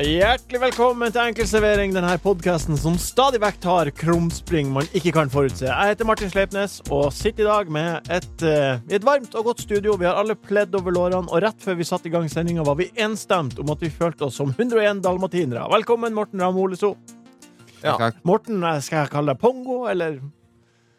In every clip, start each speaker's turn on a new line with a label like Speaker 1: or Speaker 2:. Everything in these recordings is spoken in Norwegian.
Speaker 1: Hjertelig velkommen til Enkelservering, denne podkasten som stadig vekk tar krumspring man ikke kan forutse. Jeg heter Martin Sleipnes og sitter i dag med et, eh, i et varmt og godt studio. Vi har alle pledd over lårene, og rett før vi satte i gang sendinga, var vi enstemt om at vi følte oss som 101 dalmatinere. Velkommen, Morten Ramm Oleso.
Speaker 2: Ja.
Speaker 3: Takk.
Speaker 1: Morten, eh, skal jeg kalle deg Pongo eller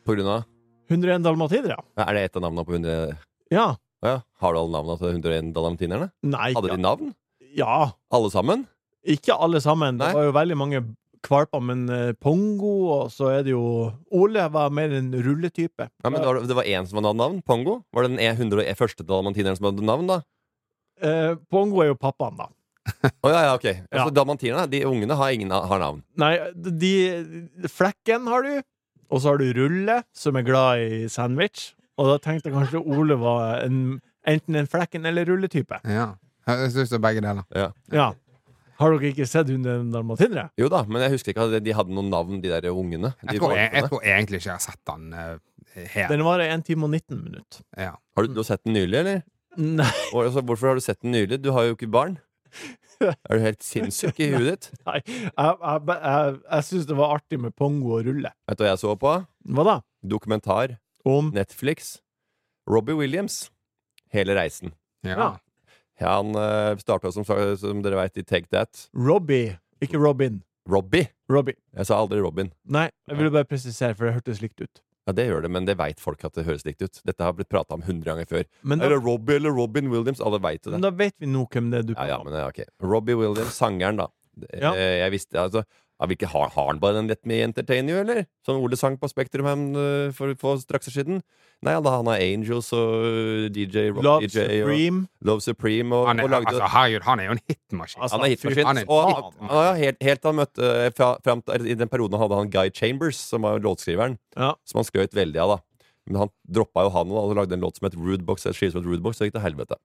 Speaker 2: På grunn av
Speaker 1: 101 dalmatinere?
Speaker 2: Er det et av navnene på 100
Speaker 1: Ja.
Speaker 2: Å ja. Har du alle navnene til 101 dalamantinerne?
Speaker 1: Nei.
Speaker 2: Hadde de navn?
Speaker 1: Ja.
Speaker 2: Alle sammen?
Speaker 1: Ikke alle sammen.
Speaker 2: Nei.
Speaker 1: Det var jo veldig mange kvalper, men eh, Pongo, og så er det jo Ole var mer en rulletype.
Speaker 2: Ja, men det var- Det var én som hadde navn? Pongo? Var det den e- 101. dalamantineren som hadde navn, da?
Speaker 1: Eh, Pongo er jo pappaen, da.
Speaker 2: Å ja, ja, ok.
Speaker 1: Ja.
Speaker 2: Så dalamantinerne, de ungene, har ingen har navn.
Speaker 1: Nei, de, de Flekken har du, og så har du Rulle, som er glad i sandwich. Og da tenkte jeg kanskje Ole var en, enten en Flekken- eller rulletype.
Speaker 3: Ja. Høres ut som begge deler.
Speaker 2: Ja.
Speaker 1: Ja. Har dere ikke sett Hunden dalmatinere?
Speaker 2: Jo da, men jeg husker ikke at de hadde noen navn, de der ungene. De
Speaker 3: Jeg tror, jeg,
Speaker 2: valpene.
Speaker 3: jeg tror egentlig ikke jeg har sett den eh, her.
Speaker 1: Den varer 1 time og 19 minutter.
Speaker 3: Ja.
Speaker 2: Har du, du har sett den nylig, eller?
Speaker 1: Nei,
Speaker 2: Og altså, hvorfor har du sett den nylig? Du har jo ikke barn. Er du helt sinnssyk i huet ditt?
Speaker 1: jeg, jeg, jeg, jeg syns det var artig med Pongo og Rulle.
Speaker 2: Vet du hva jeg så på?
Speaker 1: Hva da?
Speaker 2: Dokumentar.
Speaker 1: Om
Speaker 2: Netflix. Robbie Williams. Hele reisen.
Speaker 3: Ja.
Speaker 1: Ja.
Speaker 2: Han uh, starta, som, som dere veit, i Take That.
Speaker 1: Robbie, ikke Robin.
Speaker 2: Robbie.
Speaker 1: Robbie.
Speaker 2: Jeg sa aldri Robin.
Speaker 1: Nei, jeg ville bare presisere, for det hørtes likt ut.
Speaker 2: Ja, Det gjør det, men det veit folk at det høres likt ut. Dette har blitt prata om hundre ganger før.
Speaker 1: Men da,
Speaker 2: Eller Robbie eller Robin Williams. Alle veit jo det.
Speaker 1: men da vet vi nå hvem det er du
Speaker 2: Ja,
Speaker 1: prater
Speaker 2: ja,
Speaker 1: om.
Speaker 2: men eh, ok Robbie Williams, sangeren da
Speaker 1: Ja.
Speaker 2: Eh, Jeg visste, altså ja, hvilke, har, har han bare den lett med Entertain You, eller? Som Ole sang på Spektrum her eh, for, for straks siden Nei, han, han har Angels og eh, DJ Rock
Speaker 1: Love
Speaker 2: DJ
Speaker 1: Supreme.
Speaker 2: E og, Love Supreme og,
Speaker 3: Han er,
Speaker 2: og lagde
Speaker 3: altså, herregud, han er jo en hitmaskin.
Speaker 1: Altså,
Speaker 2: han er hitmaskin
Speaker 3: han er en
Speaker 2: og,
Speaker 3: hitmaskin.
Speaker 2: og, ja, helt, helt til han møtte eh, fra, fram, til- I den perioden hadde han Guy Chambers Som var låtskriveren
Speaker 1: Ja.
Speaker 2: Som han skrøt veldig av da men han droppa jo han og da, og lagde en låt som het Rudebox. Et skive som het Rudebox, så gikk det helvete.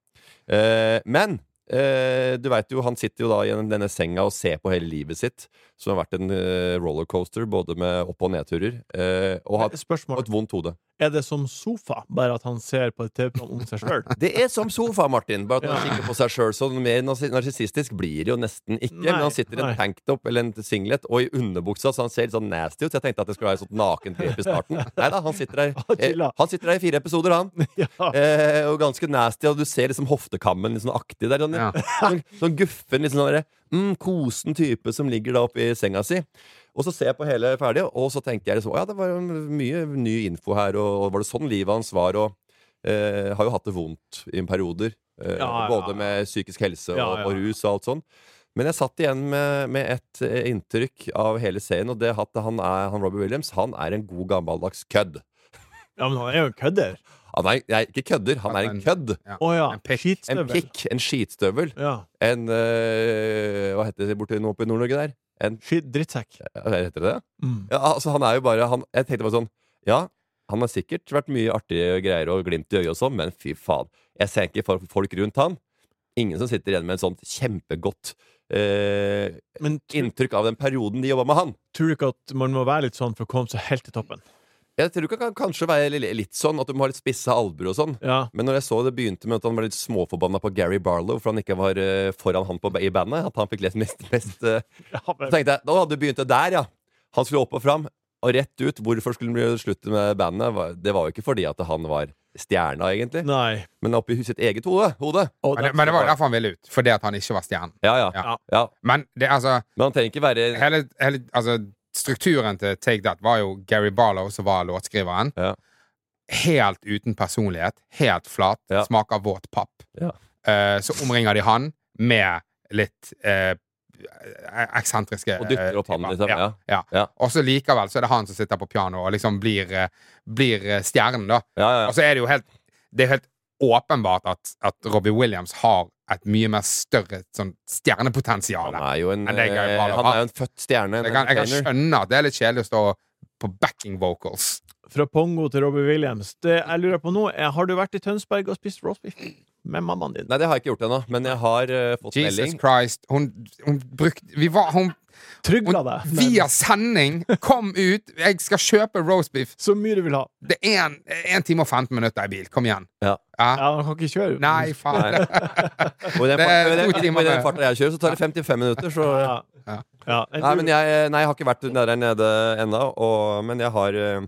Speaker 2: Eh, men eh, du veit jo, han sitter jo da i den- denne senga og ser på hele livet sitt, som har vært en eh, rollercoaster, både med opp- og nedturer, eh, og har og
Speaker 1: Spørsmål.
Speaker 2: et vondt hode.
Speaker 1: Er det som sofa, bare at han ser på et TV-program om seg sjøl?
Speaker 2: Det er som sofa, Martin, bare at han kikker på seg sjøl. Så mer narsi- narsissistisk blir det jo nesten ikke.
Speaker 1: Nei,
Speaker 2: men han sitter i
Speaker 1: nei.
Speaker 2: en tanktop eller en singlet og i underbuksa, så han ser litt sånn nasty ut. Så jeg tenkte at det skulle være et sånt nakengrep i starten. Nei da, han sitter der,
Speaker 1: Ah, chilla.
Speaker 2: eh, han sitter der i fire episoder, han.
Speaker 1: ja.
Speaker 2: Eh, og ganske nasty, og du ser liksom hoftekammen litt sånn aktig der. Sånn,
Speaker 3: Ja.
Speaker 2: sånn, sånn guffen, litt sånn derre, mm, kosen type som ligger da oppi senga si. Og så ser jeg på hele ferdig, og så tenkte jeg liksom, «Å ja, det var jo mye ny info her, og, og var det sånn livet hans var, og eh, har jo hatt det vondt i perioder.
Speaker 1: Ja,
Speaker 2: Eh,
Speaker 1: ja, ja.
Speaker 2: Både med psykisk helse og,
Speaker 1: Ja, ja, ja.
Speaker 2: og rus og alt sånn. Men jeg satt igjen med, med et eh, inntrykk av hele serien, og det er at han, er, han Robbie Williams han er en god gammeldags kødd.
Speaker 1: ja, men han er jo en kødder.
Speaker 2: Han er, nei, ikke kødder, han er en kødd.
Speaker 3: Ja.
Speaker 1: Å ja.
Speaker 3: En
Speaker 2: En
Speaker 3: pikk.
Speaker 1: Skitstøvel.
Speaker 2: pikk, en skitstøvel
Speaker 1: Ja.
Speaker 2: En, eh, hva heter det borte nå oppe i Nord-Norge der? En,
Speaker 1: Skit drittsekk.
Speaker 2: hva heter det det?
Speaker 1: Mm.
Speaker 2: Ja, altså han er jo bare han, Jeg tenkte bare sånn, ja, han har sikkert vært mye artige greier og glimt i øyet og sånn Men fy faen, jeg ser ikke for- folk rundt han Ingen som sitter igjen med en sånn kjempegodt eh,
Speaker 1: Men tr
Speaker 2: inntrykk av den perioden de jobbet med han
Speaker 1: tror du ikke at man må være litt sånn for å komme seg helt til toppen?
Speaker 2: Jeg tror ikke han kan kanskje være li- litt sånn At du må ha litt spisse albuer og sånn
Speaker 1: Ja.
Speaker 2: men når jeg så det begynte med at han var litt småforbanna på Gary Barlow for han ikke var eh, foran han på, i bandet, at han fikk lest mest, mest eh,
Speaker 1: ja
Speaker 2: Så
Speaker 1: men,
Speaker 2: tenkte jeg, Da hadde du begynt det der, ja. Han skulle opp og fram, og rett ut. Hvorfor skulle han slutte med bandet? Var- Det var jo ikke fordi at han var stjerna, egentlig,
Speaker 1: nei.
Speaker 2: men oppi sitt eget hode. hode.
Speaker 1: Og
Speaker 3: Men, det-
Speaker 1: det,
Speaker 3: men det var jo derfor han ville ut. Fordi at han ikke var stjernen.
Speaker 2: Ja, ja,
Speaker 3: Ja.
Speaker 2: ja.
Speaker 3: Men det, altså,
Speaker 2: Men han trenger ikke være
Speaker 3: hele, hele, altså Strukturen til Take That var jo Gary Barlow, som var låtskriveren.
Speaker 2: Ja.
Speaker 3: Helt uten personlighet. Helt flat.
Speaker 2: Ja.
Speaker 3: Smaker våt papp.
Speaker 2: Ja.
Speaker 3: Eh, så omringer de han med litt eh, e-, eksentriske
Speaker 2: Og dytter
Speaker 3: eh,
Speaker 2: opp han,
Speaker 3: typer.
Speaker 2: liksom. Ja.
Speaker 3: Ja.
Speaker 2: Ja.
Speaker 3: Og så likevel så er det han som sitter på pianoet og liksom blir, eh, blir eh, stjernen, da.
Speaker 2: Ja, ja,
Speaker 3: Og
Speaker 2: ja.
Speaker 3: så er det jo helt Det er helt åpenbart at, at Robbie Williams har et mye mer større sånn, stjernepotensial.
Speaker 2: Han er jo en,
Speaker 3: Men det er Gary
Speaker 2: eh,
Speaker 3: Barlow.
Speaker 2: han er jo en født stjerne. en
Speaker 3: Jeg kan, jeg kan
Speaker 2: entertainer.
Speaker 3: skjønne at det er litt kjedelig å stå og på backing vocals.
Speaker 1: Fra Pongo til Robbie Williams. Det jeg lurer på nå, er, har du vært i Tønsberg og spist roast beef med mammaen din?
Speaker 2: Nei, det har jeg ikke gjort ennå, men jeg har eh, fått
Speaker 3: Jesus
Speaker 2: melding.
Speaker 3: Christ. Hun, hun brukte Vi var hun,
Speaker 1: Trygla
Speaker 3: hun,
Speaker 1: deg. men
Speaker 3: Via sending! Kom ut! Jeg skal kjøpe roastbeef.
Speaker 1: Så mye du vil ha.
Speaker 3: Det er en, en time og 15 minutter i bil. Kom igjen.
Speaker 2: Ja.
Speaker 1: Ja, han kan ikke kjøre.
Speaker 3: Nei, faen.
Speaker 2: Nei. Og i den
Speaker 3: Det er
Speaker 2: farten-
Speaker 3: to
Speaker 2: i den-
Speaker 3: timer
Speaker 2: i den
Speaker 3: på-
Speaker 2: farten jeg kjører, så tar det 55 minutter, så
Speaker 1: Ja.
Speaker 3: Ja.
Speaker 1: Ja, en
Speaker 2: Nei,
Speaker 1: tur.
Speaker 2: men jeg, eh, nei, jeg har ikke vært der nede ennå, og- men jeg har eh,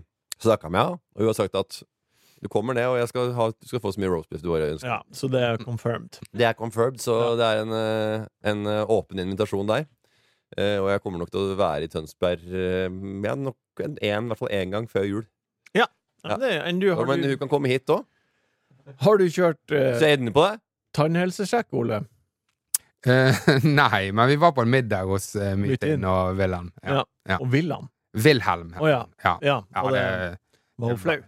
Speaker 2: snakka med henne, og hun har sagt at du kommer ned, og jeg skal ha, du skal få så mye roastbeef du bare ønsker.
Speaker 1: ja, så det er confirmed.
Speaker 2: Det er confirmed, så det er en, eh, en eh, åpen invitasjon der. Eh, og jeg kommer nok til å være i Tønsberg eh, ja, nok en, en, i hvert fall én gang før jul.
Speaker 1: Ja,
Speaker 2: Ja.
Speaker 1: men det, enn du,
Speaker 2: Ja,
Speaker 1: har,
Speaker 2: men hun
Speaker 1: du,
Speaker 2: kan komme hit òg.
Speaker 1: har du kjørt
Speaker 2: Så
Speaker 1: eh,
Speaker 2: jeg er inne på det.
Speaker 1: tannhelsesjekk, Ole?
Speaker 3: Eh, nei, men vi var på en middag hos uh,
Speaker 1: Mytin.
Speaker 3: Mytin og Wilhelm. Ja.
Speaker 1: Ja. Og Wilhelm?
Speaker 3: Wilhelm.
Speaker 1: Å ja.
Speaker 3: ja.
Speaker 1: Ja,
Speaker 3: Ja,
Speaker 1: og det
Speaker 3: det-
Speaker 1: var hun flau.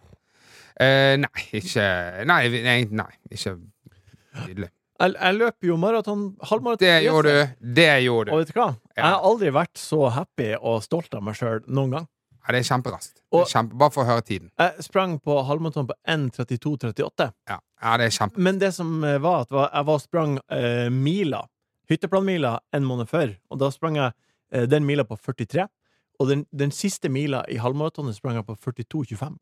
Speaker 3: eh, nei, ikke Nei, vi- nei, nei ikke Nydelig.
Speaker 1: Jeg, jeg løper jo maraton, halvmaraton.
Speaker 3: Det gjorde du. Det gjorde du.
Speaker 1: Og vet du hva? Jeg
Speaker 3: Ja.
Speaker 1: har aldri vært så happy og stolt av meg sjøl noen gang.
Speaker 3: Ja, det er kjemperaskt. Det
Speaker 1: Og-
Speaker 3: er Kjempe, bare for å høre tiden.
Speaker 1: Jeg sprang på halvmaraton på 1.32,38.
Speaker 3: Ja, ja det er kjempe...
Speaker 1: Men det som eh, var, at var- jeg var og sprang eh, mila, hytteplanmila, en måned før. Og da sprang jeg eh, den mila på 43. Og den, den siste mila i halvmaratonet sprang jeg på 42,25.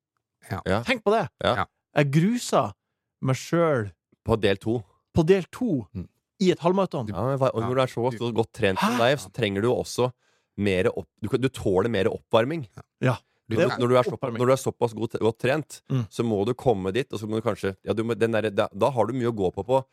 Speaker 3: Ja.
Speaker 2: Ja.
Speaker 1: Tenk på det!
Speaker 2: Ja.
Speaker 1: Jeg grusa meg sjøl
Speaker 2: På del to.
Speaker 1: på del to
Speaker 3: Mm.
Speaker 1: i et halvmaraton.
Speaker 2: Ja, men hva- og når du er så, så godt trent som
Speaker 1: Hæ?
Speaker 2: deg, så trenger du også mer opp... Du, kan- du tåler mer oppvarming.
Speaker 3: Du,
Speaker 1: Det-
Speaker 2: Når, når, du er såpass,
Speaker 1: Oppvarming.
Speaker 2: når du er såpass godt, godt trent,
Speaker 1: Mm.
Speaker 2: så må du komme dit, og så må du kanskje ja, du må, den der, da, da har du mye å gå på på,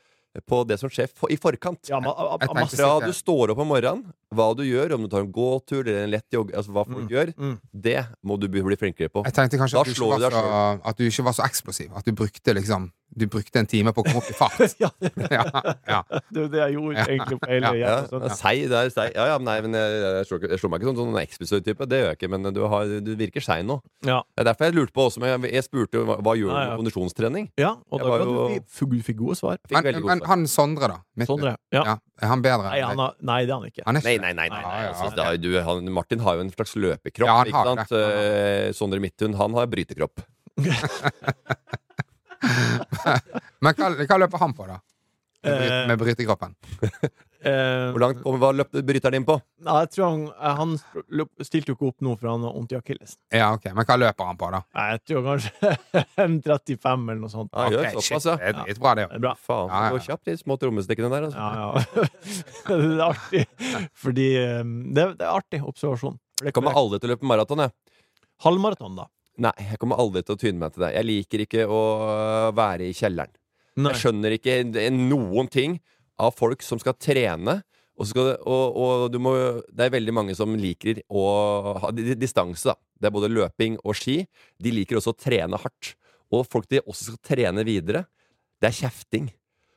Speaker 2: på det som skjer for, i forkant.
Speaker 1: Ja, ma, a, a,
Speaker 3: Jeg tenker-
Speaker 1: masse.
Speaker 2: Fra du står opp om morgenen, hva du gjør, om du tar en gåtur eller en lett jogg, altså hva folk gjør,
Speaker 1: Mm.
Speaker 2: det må du bli bli flinkere på.
Speaker 3: Jeg tenkte kanskje
Speaker 2: Da
Speaker 3: at du, ikke
Speaker 2: slår
Speaker 3: var
Speaker 2: du deg
Speaker 3: så, at du ikke var så eksplosiv. At du brukte liksom Du brukte en time på å komme opp i fart.
Speaker 1: Ja, det
Speaker 3: ja, ja.
Speaker 1: er jo det jeg gjorde egentlig på hele sånn.
Speaker 2: Ja,
Speaker 1: jævla søndag.
Speaker 2: seig, det er seig. Ja, ja, men nei, men jeg, jeg, slår, ikke- jeg slår meg ikke sånn, sånn eksplisør-type, det gjør jeg ikke, men du, har, du virker seig nå.
Speaker 1: Ja.
Speaker 2: Det er derfor jeg lurte på også, men jeg, jeg spurte jo hva, hva gjør du
Speaker 1: Ja,
Speaker 2: med
Speaker 1: ja.
Speaker 2: kondisjonstrening?
Speaker 1: ja, og
Speaker 2: Jeg
Speaker 1: da
Speaker 2: var
Speaker 1: ga du
Speaker 2: jo-
Speaker 1: fi- fikk- du fikk gode svar.
Speaker 2: Fikk
Speaker 3: Men,
Speaker 2: veldig god
Speaker 3: men
Speaker 2: svar.
Speaker 3: han Sondre, da? Mitt-
Speaker 1: Sondre. Ja.
Speaker 3: Ja, er han bedre?
Speaker 1: Nei, han
Speaker 3: deg?
Speaker 1: har, nei, det er han ikke.
Speaker 3: han er
Speaker 2: Nei,
Speaker 3: ikke
Speaker 2: nei, nei. nei,
Speaker 3: Ja,
Speaker 2: nei.
Speaker 3: ja,
Speaker 2: Altså,
Speaker 3: ja.
Speaker 2: det har, du, han, Martin har jo en slags løpekropp.
Speaker 3: Ja, han
Speaker 2: ikke
Speaker 3: har
Speaker 2: sant?
Speaker 3: det. Han
Speaker 2: Eh, Sondre Midthun han har brytekropp.
Speaker 3: Men hva, hva løper han på, da? Med, bry,
Speaker 1: Eh,
Speaker 3: med brytekroppen?
Speaker 1: Eh,
Speaker 2: Hvor langt kom, Hva løp bryteren din på?
Speaker 1: Nei, jeg tror han, eh, han st- løp- stilte jo ikke opp nå, for han har vondt i akillesen.
Speaker 3: Ja, ok, Men hva løper han på, da?
Speaker 1: Nei, Jeg tror kanskje 1,35 eller noe sånt.
Speaker 2: Ja, gjør
Speaker 3: Ok,
Speaker 2: såpass,
Speaker 3: shit,
Speaker 2: ja.
Speaker 3: Det er dritbra, det.
Speaker 1: Det er bra.
Speaker 2: Faen,
Speaker 3: Ja, ja,
Speaker 2: det går kjapt, de små trommestikkene der. Altså.
Speaker 1: Ja, ja. det er artig, fordi eh, det, er- det er artig observasjon. For det
Speaker 2: Jeg kommer
Speaker 1: korrekt.
Speaker 2: aldri til å løpe maraton, jeg.
Speaker 1: Halvmaraton, da.
Speaker 2: Nei, jeg kommer aldri til å tyne meg til det. Jeg liker ikke å være i kjelleren.
Speaker 1: Nei.
Speaker 2: Jeg skjønner ikke noen ting av folk som skal trene. Og, så skal, det- og, og du må, det er veldig mange som liker å ha di- di- distanse. Da. Det er både løping og ski. De liker også å trene hardt. Og folk de også skal trene videre, det er kjefting.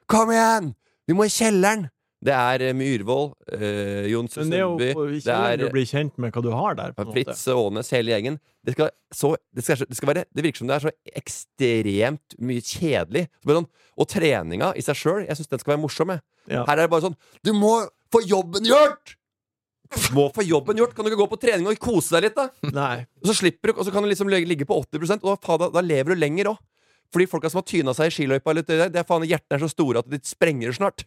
Speaker 2: Kom igjen! Vi må i kjelleren! Det er eh, Myhrvold, eh, Jon
Speaker 1: Men det er jo
Speaker 2: Sundby
Speaker 1: vi
Speaker 2: det
Speaker 1: kjenner
Speaker 2: er-
Speaker 1: å bli kjent med hva du har der. på en måte.
Speaker 2: Fritz Aanes, hele gjengen. Det, skal, så, det, skal, det, skal være, det virker som det er så ekstremt mye kjedelig. Så bare sånn, og treninga i seg sjøl, jeg syns den skal være morsom. Jeg.
Speaker 1: Ja.
Speaker 2: Her er det bare sånn Du må få jobben gjort! Du må få jobben gjort! Kan du ikke gå på trening og kose deg litt, da?
Speaker 1: Nei.
Speaker 2: Og så slipper du, og så kan du liksom ligge- ligge på 80 og da, faen, da, da lever du lenger òg. Fordi folka som har tyna seg i skiløypa, eller det der, det er faen, hjertene er så store at de sprenger snart.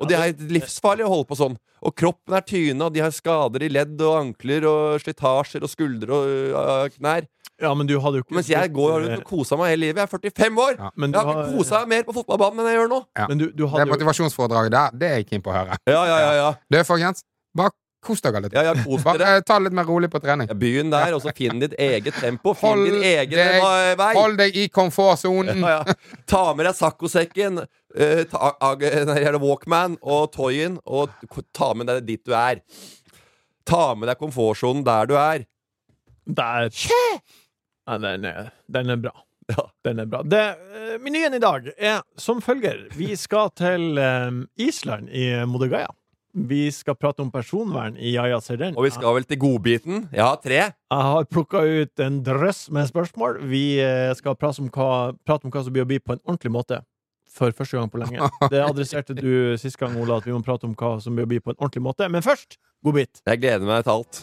Speaker 2: Og det er livsfarlig å holde på sånn. Og kroppen er tyna, og de har skader i ledd og ankler og slitasjer og skuldre og øh, knær.
Speaker 1: Ja, men du hadde jo ikke Eh,
Speaker 2: Mens jeg går rundt og koser meg hele livet. Jeg er 45 år!
Speaker 3: Ja,
Speaker 1: Men
Speaker 2: Jeg
Speaker 1: du
Speaker 2: har ikke kosa
Speaker 1: har
Speaker 2: meg mer på fotballbanen enn jeg gjør nå.
Speaker 3: Ja.
Speaker 1: Men du, du
Speaker 3: Det
Speaker 1: hadde jo
Speaker 3: motivasjonsforedraget der, det er jeg keen på å høre.
Speaker 2: Ja, ja, ja, ja.
Speaker 3: Du, folkens, bare kos dere litt.
Speaker 2: ja, ja kos dere.
Speaker 3: Bare eh, ta det litt mer rolig på trening.
Speaker 2: Ja, Byen der, og så finn ditt eget tempo. Finn
Speaker 3: Hold
Speaker 2: din egen
Speaker 3: deg-
Speaker 2: øh, vei.
Speaker 3: Hold deg i komfortsonen.
Speaker 2: Ja, ja. Ta med deg saccosekken, eh, ta, ag, nei, er det Walkman og Toyen, og k- ta med deg dit du er. Ta med deg komfortsonen der du er.
Speaker 1: Der. Nei, den er, den er bra.
Speaker 2: Ja.
Speaker 1: Den er bra. Det, eh, menyen i dag er som følger. Vi skal til eh, Island i Modigaya. Vi skal prate om personvern i Jaja ser den.
Speaker 2: Og vi skal vel til godbiten. Jeg har tre.
Speaker 1: Jeg har plukka ut en drøss med spørsmål. Vi eh, skal prate om hva, prate om hva som blir å bli på en ordentlig måte. For første gang på lenge. Det adresserte du sist gang, Ola, at vi må prate om hva som blir å bli på en ordentlig måte. Men først, godbit.
Speaker 2: Jeg gleder meg til alt.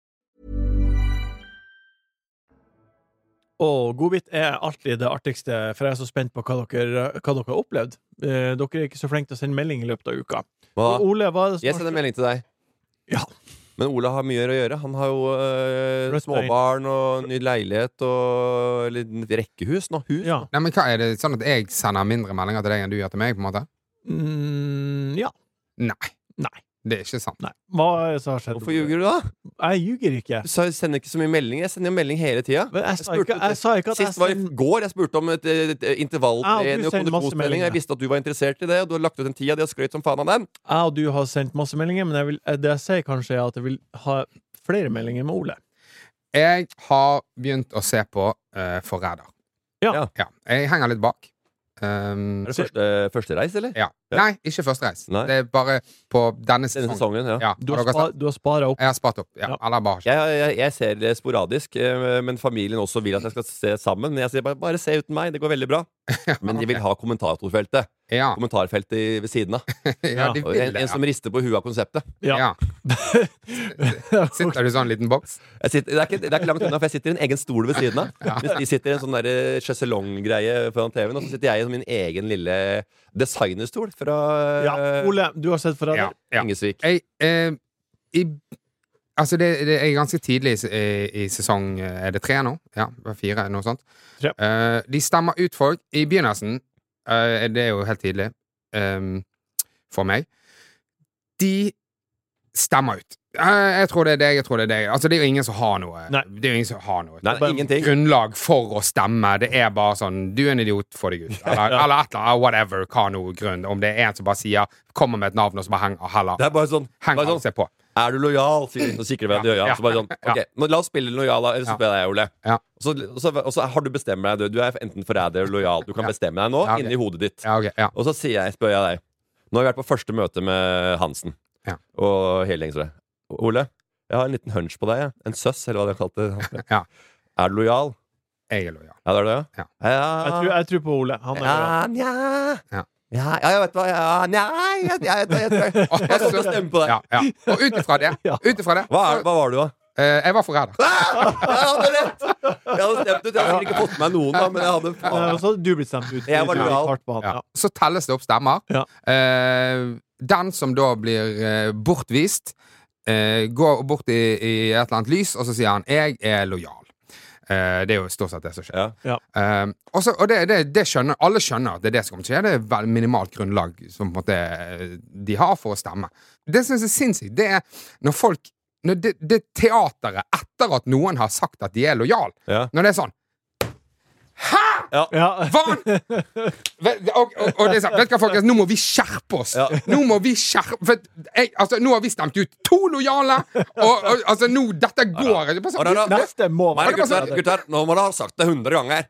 Speaker 1: Og godbit er alltid det artigste, for jeg er så spent på hva dere, hva dere har opplevd. Eh, dere er ikke så flinke til å sende melding i løpet av uka.
Speaker 2: Hva?
Speaker 1: Og Ole, hva er det
Speaker 2: Jeg sender melding til deg.
Speaker 1: Ja.
Speaker 2: Men Ola har mye å gjøre. Han har jo øh,
Speaker 1: Flytt deg.
Speaker 2: småbarn og ny leilighet og eller, rekkehus nå. Hus.
Speaker 1: Ja.
Speaker 3: Nei, men hva er det sånn at jeg sender mindre meldinger til deg enn du gjør til meg? på en måte?
Speaker 1: Mm, ja.
Speaker 3: Nei.
Speaker 1: Nei.
Speaker 3: Det er ikke sant.
Speaker 1: Nei. Hva er det som har skjedd?
Speaker 2: Hvorfor ljuger du da?
Speaker 1: Jeg ljuger ikke.
Speaker 2: Du sa jeg sender ikke så mye meldinger. Jeg sender jo melding hele tida.
Speaker 1: Men jeg, sa
Speaker 2: spurte
Speaker 1: ikke, jeg sa ikke at jeg
Speaker 2: Sist var i
Speaker 1: sender-
Speaker 2: går. Jeg spurte om et, et, et intervall
Speaker 1: Ja, og Ah, du
Speaker 2: trening og
Speaker 1: sender masse
Speaker 2: kondisjonsmelding. Jeg
Speaker 1: meldinger.
Speaker 2: visste at du var interessert i det, og du har lagt ut en tid av det og skrøt som faen av den.
Speaker 1: Jeg og du har sendt masse meldinger, men jeg vil, eh, det jeg sier kanskje, er at jeg vil ha flere meldinger med Ole.
Speaker 3: Jeg har begynt å se på uh, Forræder.
Speaker 1: Ja.
Speaker 3: ja. Jeg henger litt bak. Um,
Speaker 2: Er det første, Eh, første reis, eller?
Speaker 3: ja.
Speaker 2: Ja.
Speaker 3: Nei, ikke første reis.
Speaker 2: Nei.
Speaker 3: Det er bare på
Speaker 2: Denne
Speaker 3: denne sesongen.
Speaker 2: sesongen, ja.
Speaker 3: Ja,
Speaker 1: Du
Speaker 3: har
Speaker 1: har,
Speaker 3: dere
Speaker 1: spa,
Speaker 3: sett?
Speaker 1: du har spara opp.
Speaker 3: Jeg har spart opp. Ja,
Speaker 1: Ja.
Speaker 3: Eller bare ikke.
Speaker 2: Jeg, jeg, jeg ser det sporadisk, eh, men familien også vil at jeg skal se sammen. Men jeg sier bare, bare se uten meg, det går veldig bra. Men de vil ha kommentatorfeltet.
Speaker 3: Ja.
Speaker 2: Kommentarfeltet i- ved siden av.
Speaker 3: ja, de
Speaker 2: Og
Speaker 3: vil
Speaker 2: En,
Speaker 3: det.
Speaker 2: en som rister på huet av konseptet.
Speaker 3: ja.
Speaker 1: Ja.
Speaker 3: Ja. Sitter du i sånn liten boks?
Speaker 2: Jeg sitter, det, er ikke, det er ikke langt unna, for jeg sitter i en egen stol ved siden av. Mens de sitter i en sånn der, eh, sjeselonggreie foran TV-en, og så sitter jeg i min egen lille designerstol fra eh,
Speaker 1: Ja, Ole, du har sett
Speaker 3: Ja.
Speaker 1: Forræder.
Speaker 3: ja.
Speaker 2: Ingesvik.
Speaker 3: Jeg, eh, i, altså det, det er ganske tidlig i, se- i, i sesong eh, Er det tre nå? Ja, det var fire, noe sånt.
Speaker 1: Tre.
Speaker 3: Eh, de stemmer ut folk. I begynnelsen eh, Det er jo helt tidlig ehm, for meg. De stemmer ut. Eh, jeg tror det er deg, jeg tror det er deg. Altså, det er jo ingen som har noe.
Speaker 1: Nei.
Speaker 3: Det er jo ingen som har noe
Speaker 2: Nei, ingenting.
Speaker 3: grunnlag for å stemme. Det er bare sånn Du er en idiot, få deg ut. Eller, eller et eller annet. Whatever. Hva nå grunn. Om det er en som bare sier Kommer med et navn og så bare henger heller.
Speaker 2: Det er bare sånn,
Speaker 3: Henger
Speaker 2: bare
Speaker 3: alle
Speaker 2: sånn
Speaker 3: seg på.
Speaker 2: Er du lojal? sier de, Så sikrer vi deg i øya.
Speaker 3: Ja.
Speaker 2: Så bare sånn, ok, nå La oss spille lojal, da. Eller så
Speaker 3: Ja.
Speaker 2: spør jeg deg, Ole.
Speaker 3: Ja.
Speaker 2: Og så, og, så, og så har du bestemt deg. Du, du er enten forræder eller lojal. Du kan
Speaker 3: Ja.
Speaker 2: bestemme deg nå
Speaker 3: Ja, ok.
Speaker 2: inni hodet ditt.
Speaker 3: Ja, ok. Ja.
Speaker 2: Og så sier jeg, spør jeg deg Nå har vi vært på første møte med Hansen
Speaker 3: Ja.
Speaker 2: og hele gjengen. tror jeg. Ole, jeg har en liten hunch på deg. jeg. En søss, eller hva de har kalt det.
Speaker 3: Ja.
Speaker 2: Er du lojal?
Speaker 3: Jeg er lojal.
Speaker 2: Ja, det er det,
Speaker 3: Ja.
Speaker 2: ja.
Speaker 1: Jeg tror, jeg tror på Ole. Han er
Speaker 2: ja,
Speaker 1: bra.
Speaker 2: nja.
Speaker 3: Ja.
Speaker 2: Ja. ja, jeg vet hva ja, Nja, jeg, jeg, jeg, jeg, jeg, jeg,
Speaker 3: Og-
Speaker 2: kommer til å stemme på deg.
Speaker 3: Ja, ja. Og ut ifra det,
Speaker 1: Ja.
Speaker 3: ut ifra det
Speaker 2: Hva, er, hva var du, da?
Speaker 3: eh, Jeg var forræder.
Speaker 2: Ah! Jeg hadde rett! Jeg hadde stemt ut. Jeg hadde ikke fått med meg noen, da, men jeg hadde
Speaker 1: Men
Speaker 2: faen.
Speaker 1: Eh, Så hadde du blitt stemt ut.
Speaker 2: Jeg var
Speaker 1: Du gikk
Speaker 2: lojal.
Speaker 1: hardt på han,
Speaker 3: Ja.
Speaker 1: ja.
Speaker 3: Så telles det opp stemmer.
Speaker 1: Ja.
Speaker 3: Eh, den som da blir eh, bortvist, eh, går bort i, i et eller annet lys, og så sier han 'jeg er lojal'. Eh, det er jo stort sett det som skjer.
Speaker 2: Ja.
Speaker 3: Um, og så- og det, det, det skjønner, alle skjønner at det er det som kommer til å skje. Det er vel minimalt grunnlag som på en måte eh, de har for å stemme. Det syns jeg er sinnssykt. Det er når folk når det, det teateret etter at noen har sagt at de er lojal
Speaker 2: Ja.
Speaker 3: Når det er sånn
Speaker 1: Ja.
Speaker 3: Faen! Vet- Og, og, og det er sånn, vet du hva, folkens, nå må vi skjerpe oss!
Speaker 2: Ja.
Speaker 3: Nå må vi skjerpe for jeg, altså, Nå har vi stemt ut to lojale, og, og altså, nå Dette går ikke. Bare sånn,
Speaker 2: Nei, nei, nei.
Speaker 1: Neste må
Speaker 2: Nei,
Speaker 1: være
Speaker 2: gutter, gutter, nå må du ha sagt det 100 ganger.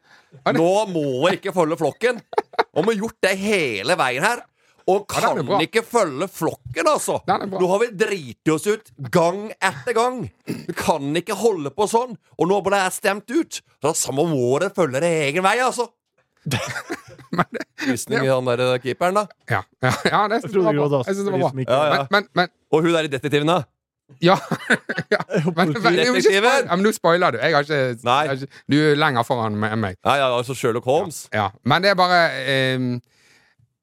Speaker 2: Nå må dere ikke følge flokken. Nå må vi gjort det hele veien her. Og
Speaker 3: Ja, den
Speaker 2: kan
Speaker 3: er bra.
Speaker 2: ikke følge flokken, altså!
Speaker 3: Ja, den er bra.
Speaker 2: Nå har vi driti oss ut gang etter gang. Vi kan ikke holde på sånn. Og nå ble jeg stemt ut. Da samme må dere følge deres egen vei, altså. Krysning i han der keeperen, da.
Speaker 3: Ja, ja, ja det syns
Speaker 1: trodde
Speaker 3: jeg
Speaker 1: du
Speaker 3: var
Speaker 1: gråt
Speaker 3: bra.
Speaker 1: også,
Speaker 3: Jeg synes det
Speaker 1: for de
Speaker 3: var
Speaker 1: som ikke-
Speaker 3: bra.
Speaker 2: Ja, ja.
Speaker 3: Men, men, men
Speaker 2: Og hun der i detektiven, da.
Speaker 3: Ja. ja. Men, men, men, ikke spoil-
Speaker 2: Detektiven!
Speaker 3: ja, men nå spoiler du. Jeg har ikke, jeg
Speaker 2: Nei.
Speaker 3: har ikke Du er lenger foran meg enn meg.
Speaker 2: Ja, ja, altså Sherlock Holmes.
Speaker 3: Ja. Men det er bare ehm,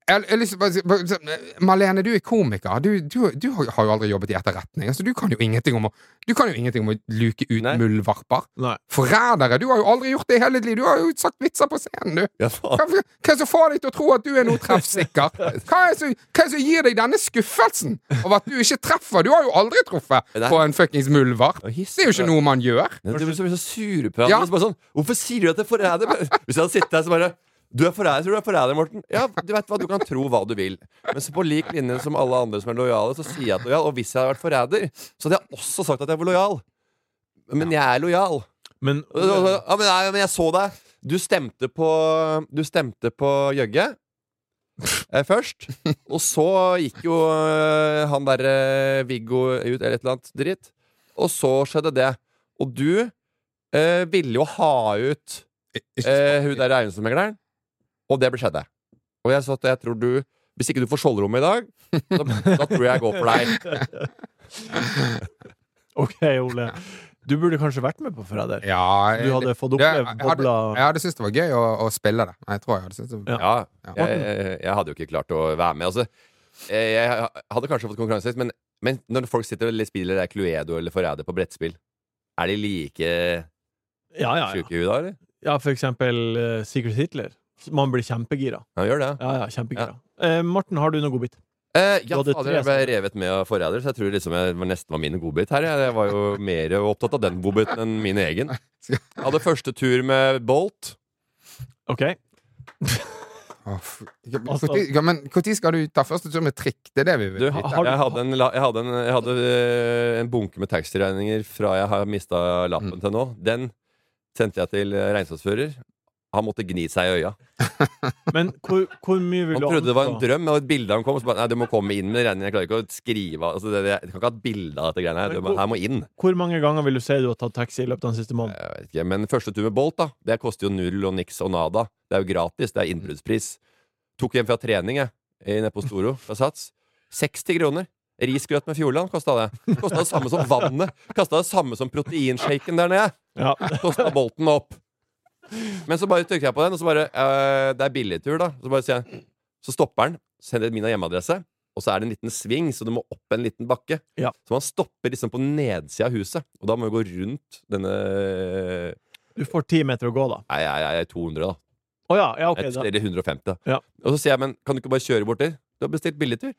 Speaker 3: jeg har- jeg har lyst til å bare si- bare si- Marlene, du er komiker. Du, du, du har har jo aldri jobbet i etterretning. Altså, du, kan jo ingenting om å, du kan jo ingenting om å luke ut
Speaker 2: Nei.
Speaker 3: muldvarper.
Speaker 1: Nei.
Speaker 3: Forrædere! Du har jo aldri gjort det i hele ditt liv! Du har jo sagt vitser på scenen, du!
Speaker 2: Ja, faen.
Speaker 3: Hva, hva er det som får deg til å tro at du er noe treffsikker? Hva er det som, hva er det som gir deg denne skuffelsen over at du ikke treffer? Du har jo aldri truffet
Speaker 2: Nei.
Speaker 3: på en fuckings muldvarp.
Speaker 2: Og hiss.
Speaker 3: Det er jo ikke noe man gjør.
Speaker 2: Ja, Du blir så, blir så sure på
Speaker 3: Ja.
Speaker 2: hverandre. så bare Sånn, Hvorfor sier du at jeg er forræder? Hvis jeg hadde sittet her så bare Du er forræder, tror du er forræder, Morten. Ja, du vet hva, du kan tro hva du vil. Men så på lik linje som alle andre som er lojale, så sier jeg at lojal. Og hvis jeg hadde vært forræder, så hadde jeg også sagt at jeg var lojal. Men jeg er lojal.
Speaker 1: Men
Speaker 2: Og- og- og- Ja, men, Altså, nei, men jeg så deg. Du stemte på Du stemte på Jøgge eh, først. Og så gikk jo eh, han derre Viggo ut, eller et eller annet dritt. Og så skjedde det. Og du eh, ville jo ha ut eh, hun der eiendomsmegleren, og det ble skjedde. Og jeg sa at jeg tror du Hvis ikke du får skjoldrommet i dag, da, da tror jeg jeg går for deg.
Speaker 1: OK, Ole. Du burde kanskje vært med på Forræder.
Speaker 3: Ja,
Speaker 1: Du hadde fått
Speaker 3: det-
Speaker 1: opplevd
Speaker 3: jeg hadde-
Speaker 1: bobla
Speaker 3: Jeg hadde syntes det var gøy å, å spille det. Jeg tror jeg hadde syntes det var
Speaker 1: Ja.
Speaker 2: Ja, jeg, jeg hadde jo ikke klart å være med. Altså, jeg, jeg hadde kanskje fått konkurranse, men, men når folk sitter og spiller der Cluedo eller Forræder på brettspill, er de like
Speaker 1: Ja, ja, ja.
Speaker 2: sjuke i huet da, eller?
Speaker 1: ja for eksempel eh, Secret Hitler. Man blir kjempegira.
Speaker 2: Ja, gjør det.
Speaker 1: Ja, ja, kjempegira. Eh, Morten, har du noen godbit?
Speaker 2: Eh,
Speaker 1: Du
Speaker 2: ja,
Speaker 1: hadde
Speaker 2: fader,
Speaker 1: tre
Speaker 2: jeg ble revet med av Forræder, så jeg tror liksom jeg var nesten var min godbit her. Jeg, jeg var jo mer opptatt av den godbiten enn min egen. Jeg hadde første tur med Bolt.
Speaker 1: OK.
Speaker 3: Åh, f- ja, men
Speaker 1: Altså-
Speaker 3: hvor tid- ja, Men når skal du ta første tur med trikk? Det er det vi vil
Speaker 2: Du,
Speaker 3: vite.
Speaker 1: har du-
Speaker 2: jeg hadde, en, la- jeg hadde, en, jeg hadde eh, en bunke med taxiregninger fra jeg har mista lappen
Speaker 1: Mm.
Speaker 2: til nå. Den sendte jeg til eh, regnskapsfører. Han måtte gni seg i øya.
Speaker 1: Men hvor, hvor mye vil
Speaker 2: Han
Speaker 1: du
Speaker 2: trodde det var en
Speaker 1: anta-
Speaker 2: drøm, og et bilde han kom. Og så bare, nei, du må komme inn med regningen. Jeg klarer ikke å skrive altså, det, Jeg kan ikke ha et bilde av dette greiene her.
Speaker 1: Men
Speaker 2: Det må-
Speaker 1: hvor-
Speaker 2: Her må inn.
Speaker 1: Hvor mange ganger vil du si du har tatt taxi i løpet av den siste måneden?
Speaker 2: Jeg vet ikke, men første tur med Bolt, da. Det koster jo null og niks og nada. Det er jo gratis. Det er innbruddspris. Tok hjem fra trening, jeg, i- nede på Storo fra Sats. 60 kroner. Risgrøt med Fjordland kosta det. Kosta det samme som vannet. Kosta det samme som proteinshaken der nede.
Speaker 1: Ja.
Speaker 2: Kosta Bolten meg opp. Men så bare trykte jeg på den, og så bare eh, Det er billigtur, da. Så bare sier jeg Så stopper den, sender min hjemmeadresse, og så er det en liten sving, så du må opp en liten bakke.
Speaker 1: Ja.
Speaker 2: Så man stopper liksom på nedsida av huset, og da må vi gå rundt denne
Speaker 1: Du får ti meter å gå, da.
Speaker 2: Nei, jeg, jeg er 200, da.
Speaker 1: Å ja, ja, ok.
Speaker 2: Jeg-
Speaker 1: Da.
Speaker 2: Eller 150.
Speaker 1: Ja.
Speaker 2: Og så sier jeg, men kan du ikke bare kjøre bort der? Du har bestilt billigtur.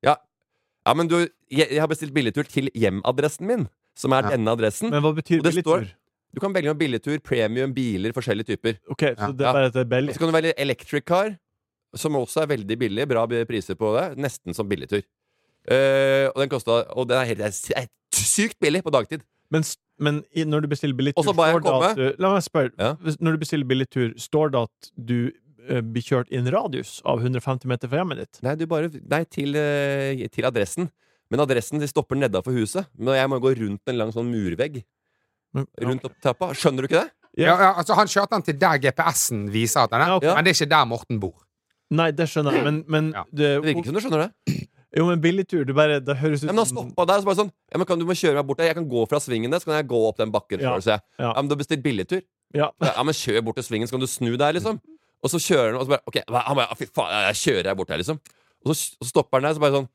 Speaker 2: Ja. ja, men du, jeg, jeg har bestilt billigtur til hjemadressen min, som er
Speaker 3: Ja.
Speaker 2: denne adressen.
Speaker 1: Men hva betyr
Speaker 2: Og det står-
Speaker 1: billigtur?
Speaker 2: Du kan velge mellom billigtur, premium, biler, forskjellige typer.
Speaker 1: OK, så
Speaker 3: Ja.
Speaker 1: det er bare at det er
Speaker 2: Og
Speaker 1: billig.
Speaker 2: Så kan du velge electric car, som også er veldig billig. Bra b- priser på det. Nesten som billigtur. Eh, og den kosta Og den er, helt, det er sykt billig på dagtid.
Speaker 1: Men, s- men i, når du bestiller billigtur,
Speaker 2: Og så ba jeg
Speaker 1: står det
Speaker 2: komme.
Speaker 1: at du, La meg spørre.
Speaker 2: Ja.
Speaker 1: Hvis- Når du bestiller billigtur, står det at du eh, blir kjørt i en radius av 150 meter fra hjemmet ditt?
Speaker 2: Nei, du bare, nei til, eh, til adressen. Men adressen de stopper nedafor huset. Men jeg må gå rundt en lang sånn murvegg.
Speaker 1: Men-
Speaker 2: Rundt opp trappa. Skjønner du ikke det?
Speaker 3: ja, ja, altså, han kjørte den til der GPS-en viser at han er,
Speaker 1: Ja, ok.
Speaker 3: men det er ikke der Morten bor.
Speaker 1: Nei, det skjønner jeg, men, men
Speaker 3: Ja.
Speaker 1: det,
Speaker 2: Det virker ikke som du skjønner det.
Speaker 1: Jo, men billigtur, det bare Det høres ut
Speaker 2: Ja, men han stoppa der og så bare sånn ja, men kan, Du må kjøre meg bort der. Jeg kan gå fra svingen der, så kan jeg gå opp den bakken.
Speaker 1: Ja.
Speaker 2: selv», Så jeg,
Speaker 1: Ja.
Speaker 2: ja. men du har bestilt billigtur.
Speaker 1: Ja.
Speaker 2: Ja, men kjør bort til svingen, så kan du snu der, liksom. Og så kjører han, og så bare Ok, hva- han bare, «Ja, fy faen, ja, jeg kjører jeg bort her, liksom. Og så, og så stopper han der, så bare sånn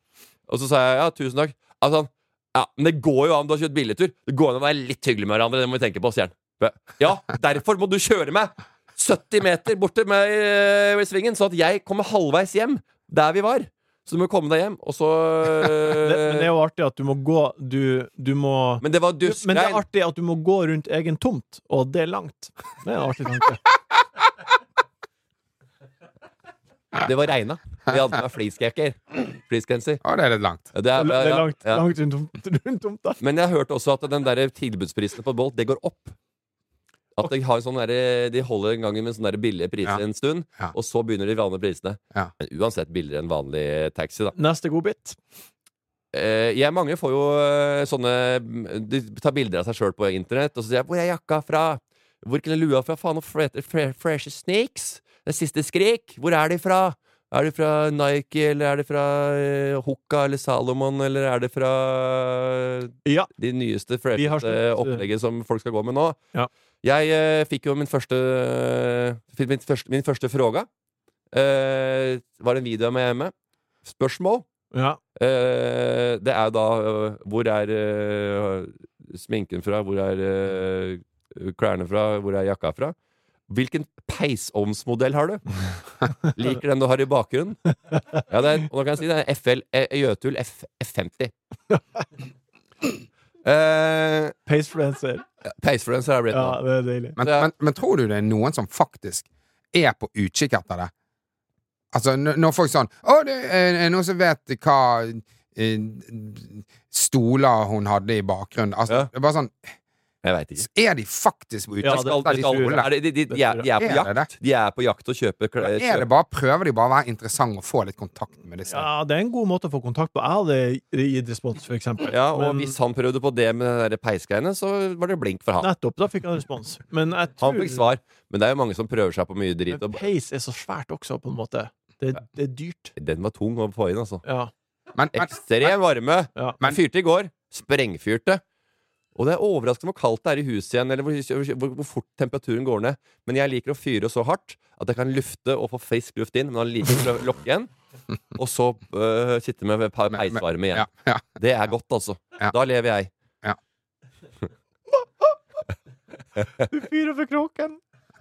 Speaker 2: Og så sa jeg ja, tusen takk. Altså, han, ja, men det går jo an, du har kjørt billigtur. Det går an å være litt hyggelig med hverandre, det må vi tenke på, sier han. Bare, Ja, derfor må du kjøre meg 70 meter borte med øh, i svingen, sånn at jeg kommer halvveis hjem der vi var. Så du må komme deg hjem, og så
Speaker 1: det, Men det er jo artig at du må gå Du, du må
Speaker 2: Eh, Men det var
Speaker 1: Du-
Speaker 2: dusk.
Speaker 1: Men det er
Speaker 2: Nei,
Speaker 1: artig at du må gå rundt egen tomt, og at det er langt. Det er en artig tanke.
Speaker 2: det var regna. Vi hadde med fleecejakker. Fleecegenser.
Speaker 3: Å, det er litt langt.
Speaker 2: Det er,
Speaker 1: Det er
Speaker 2: ja,
Speaker 1: langt,
Speaker 2: ja.
Speaker 1: langt rundt, tomt- rundt tomta.
Speaker 2: Men jeg hørte også at den der tilbudsprisen på Bolt, det går opp. At de, har en sånn der, de holder en gang med en sånn der billige priser
Speaker 3: Ja.
Speaker 2: en stund,
Speaker 3: Ja.
Speaker 2: og så begynner de vanlige prisene.
Speaker 3: Ja.
Speaker 2: Men uansett billigere enn vanlig taxi, da.
Speaker 1: Neste godbit.
Speaker 2: Eh, jeg mange får jo eh, sånne De tar bilder av seg sjøl på internett, og så sier jeg 'Hvor er jakka fra? Hvor er lua fra? Faen, og fre- fre- fresh snakes? Det siste skrik? Hvor er de fra? Er de fra Nike, eller er de fra uh, Hoka eller Salomon, eller er de fra
Speaker 1: Ja.
Speaker 2: de nyeste
Speaker 1: Vi har
Speaker 2: fresheste
Speaker 1: slutt.
Speaker 2: opplegget som folk skal gå med nå.
Speaker 1: Ja.
Speaker 2: Jeg eh, fikk jo min første fikk Min første, min første fråga. Eh, var en video med hjemme. Spørsmål.
Speaker 1: ja.
Speaker 2: Eh, det er da eh, Hvor er eh, sminken fra? Hvor er eh, klærne fra? Hvor er jakka fra? Hvilken peisovnsmodell har du? Liker den du har i bakgrunnen? Ja, det er, og da kan jeg si det er FL eh, Jøtul F, F50. Eh,
Speaker 1: Pacefluencer.
Speaker 2: Peisfluencer er blitt
Speaker 1: Ja,
Speaker 2: nå.
Speaker 1: det er deilig.
Speaker 3: Men,
Speaker 2: Det-
Speaker 3: men, men tror du det er noen som faktisk er på utkikk etter det? Altså, n- når folk sånn Å, det er er noen som vet hva eh, stoler hun hadde i bakgrunnen. Altså,
Speaker 2: Ja.
Speaker 3: det er bare sånn
Speaker 2: Jeg veit ikke.
Speaker 3: Er de faktisk på
Speaker 1: Ja,
Speaker 3: utested?
Speaker 1: det-
Speaker 2: Skal,
Speaker 3: Eller
Speaker 2: de,
Speaker 3: de
Speaker 2: skal,
Speaker 3: skole?
Speaker 2: er det- de, de, de, er, de er på
Speaker 3: Er det
Speaker 2: jakt. De er på jakt og kjøper klær.
Speaker 3: er det bare, prøver de bare å være interessante og få litt kontakt med disse?
Speaker 1: Ja, det er en god måte å få kontakt på. Jeg hadde gitt respons, for eksempel.
Speaker 2: Ja, og
Speaker 1: Men-
Speaker 2: hvis han prøvde på det med den der peisgreiene, så var det blink for han.
Speaker 1: Nettopp, da fikk han respons. Men jeg tror
Speaker 2: Han fikk svar. Men det er jo mange som prøver seg på mye drit.
Speaker 1: Men
Speaker 2: Og
Speaker 1: peis er så svært også, på en måte. Det, det er dyrt.
Speaker 2: den var tung å få inn, altså.
Speaker 1: Ja.
Speaker 3: Men, men,
Speaker 2: Ekstrem varme.
Speaker 1: Ja.
Speaker 2: Men fyrte i går. Sprengfyrte. Og det er overraskende hvor kaldt det er i huset igjen, eller hvor, hvor, hvor fort temperaturen går ned. Men jeg liker å fyre så hardt at jeg kan lufte og få frisk luft inn, men han liker å lokke igjen. Og så øh, sitte med pe-
Speaker 3: Men- men-
Speaker 2: peisvarme igjen.
Speaker 3: ja, ja.
Speaker 2: Det er godt, altså.
Speaker 3: Ja.
Speaker 2: Da lever jeg.
Speaker 1: Du fyrer for kråken!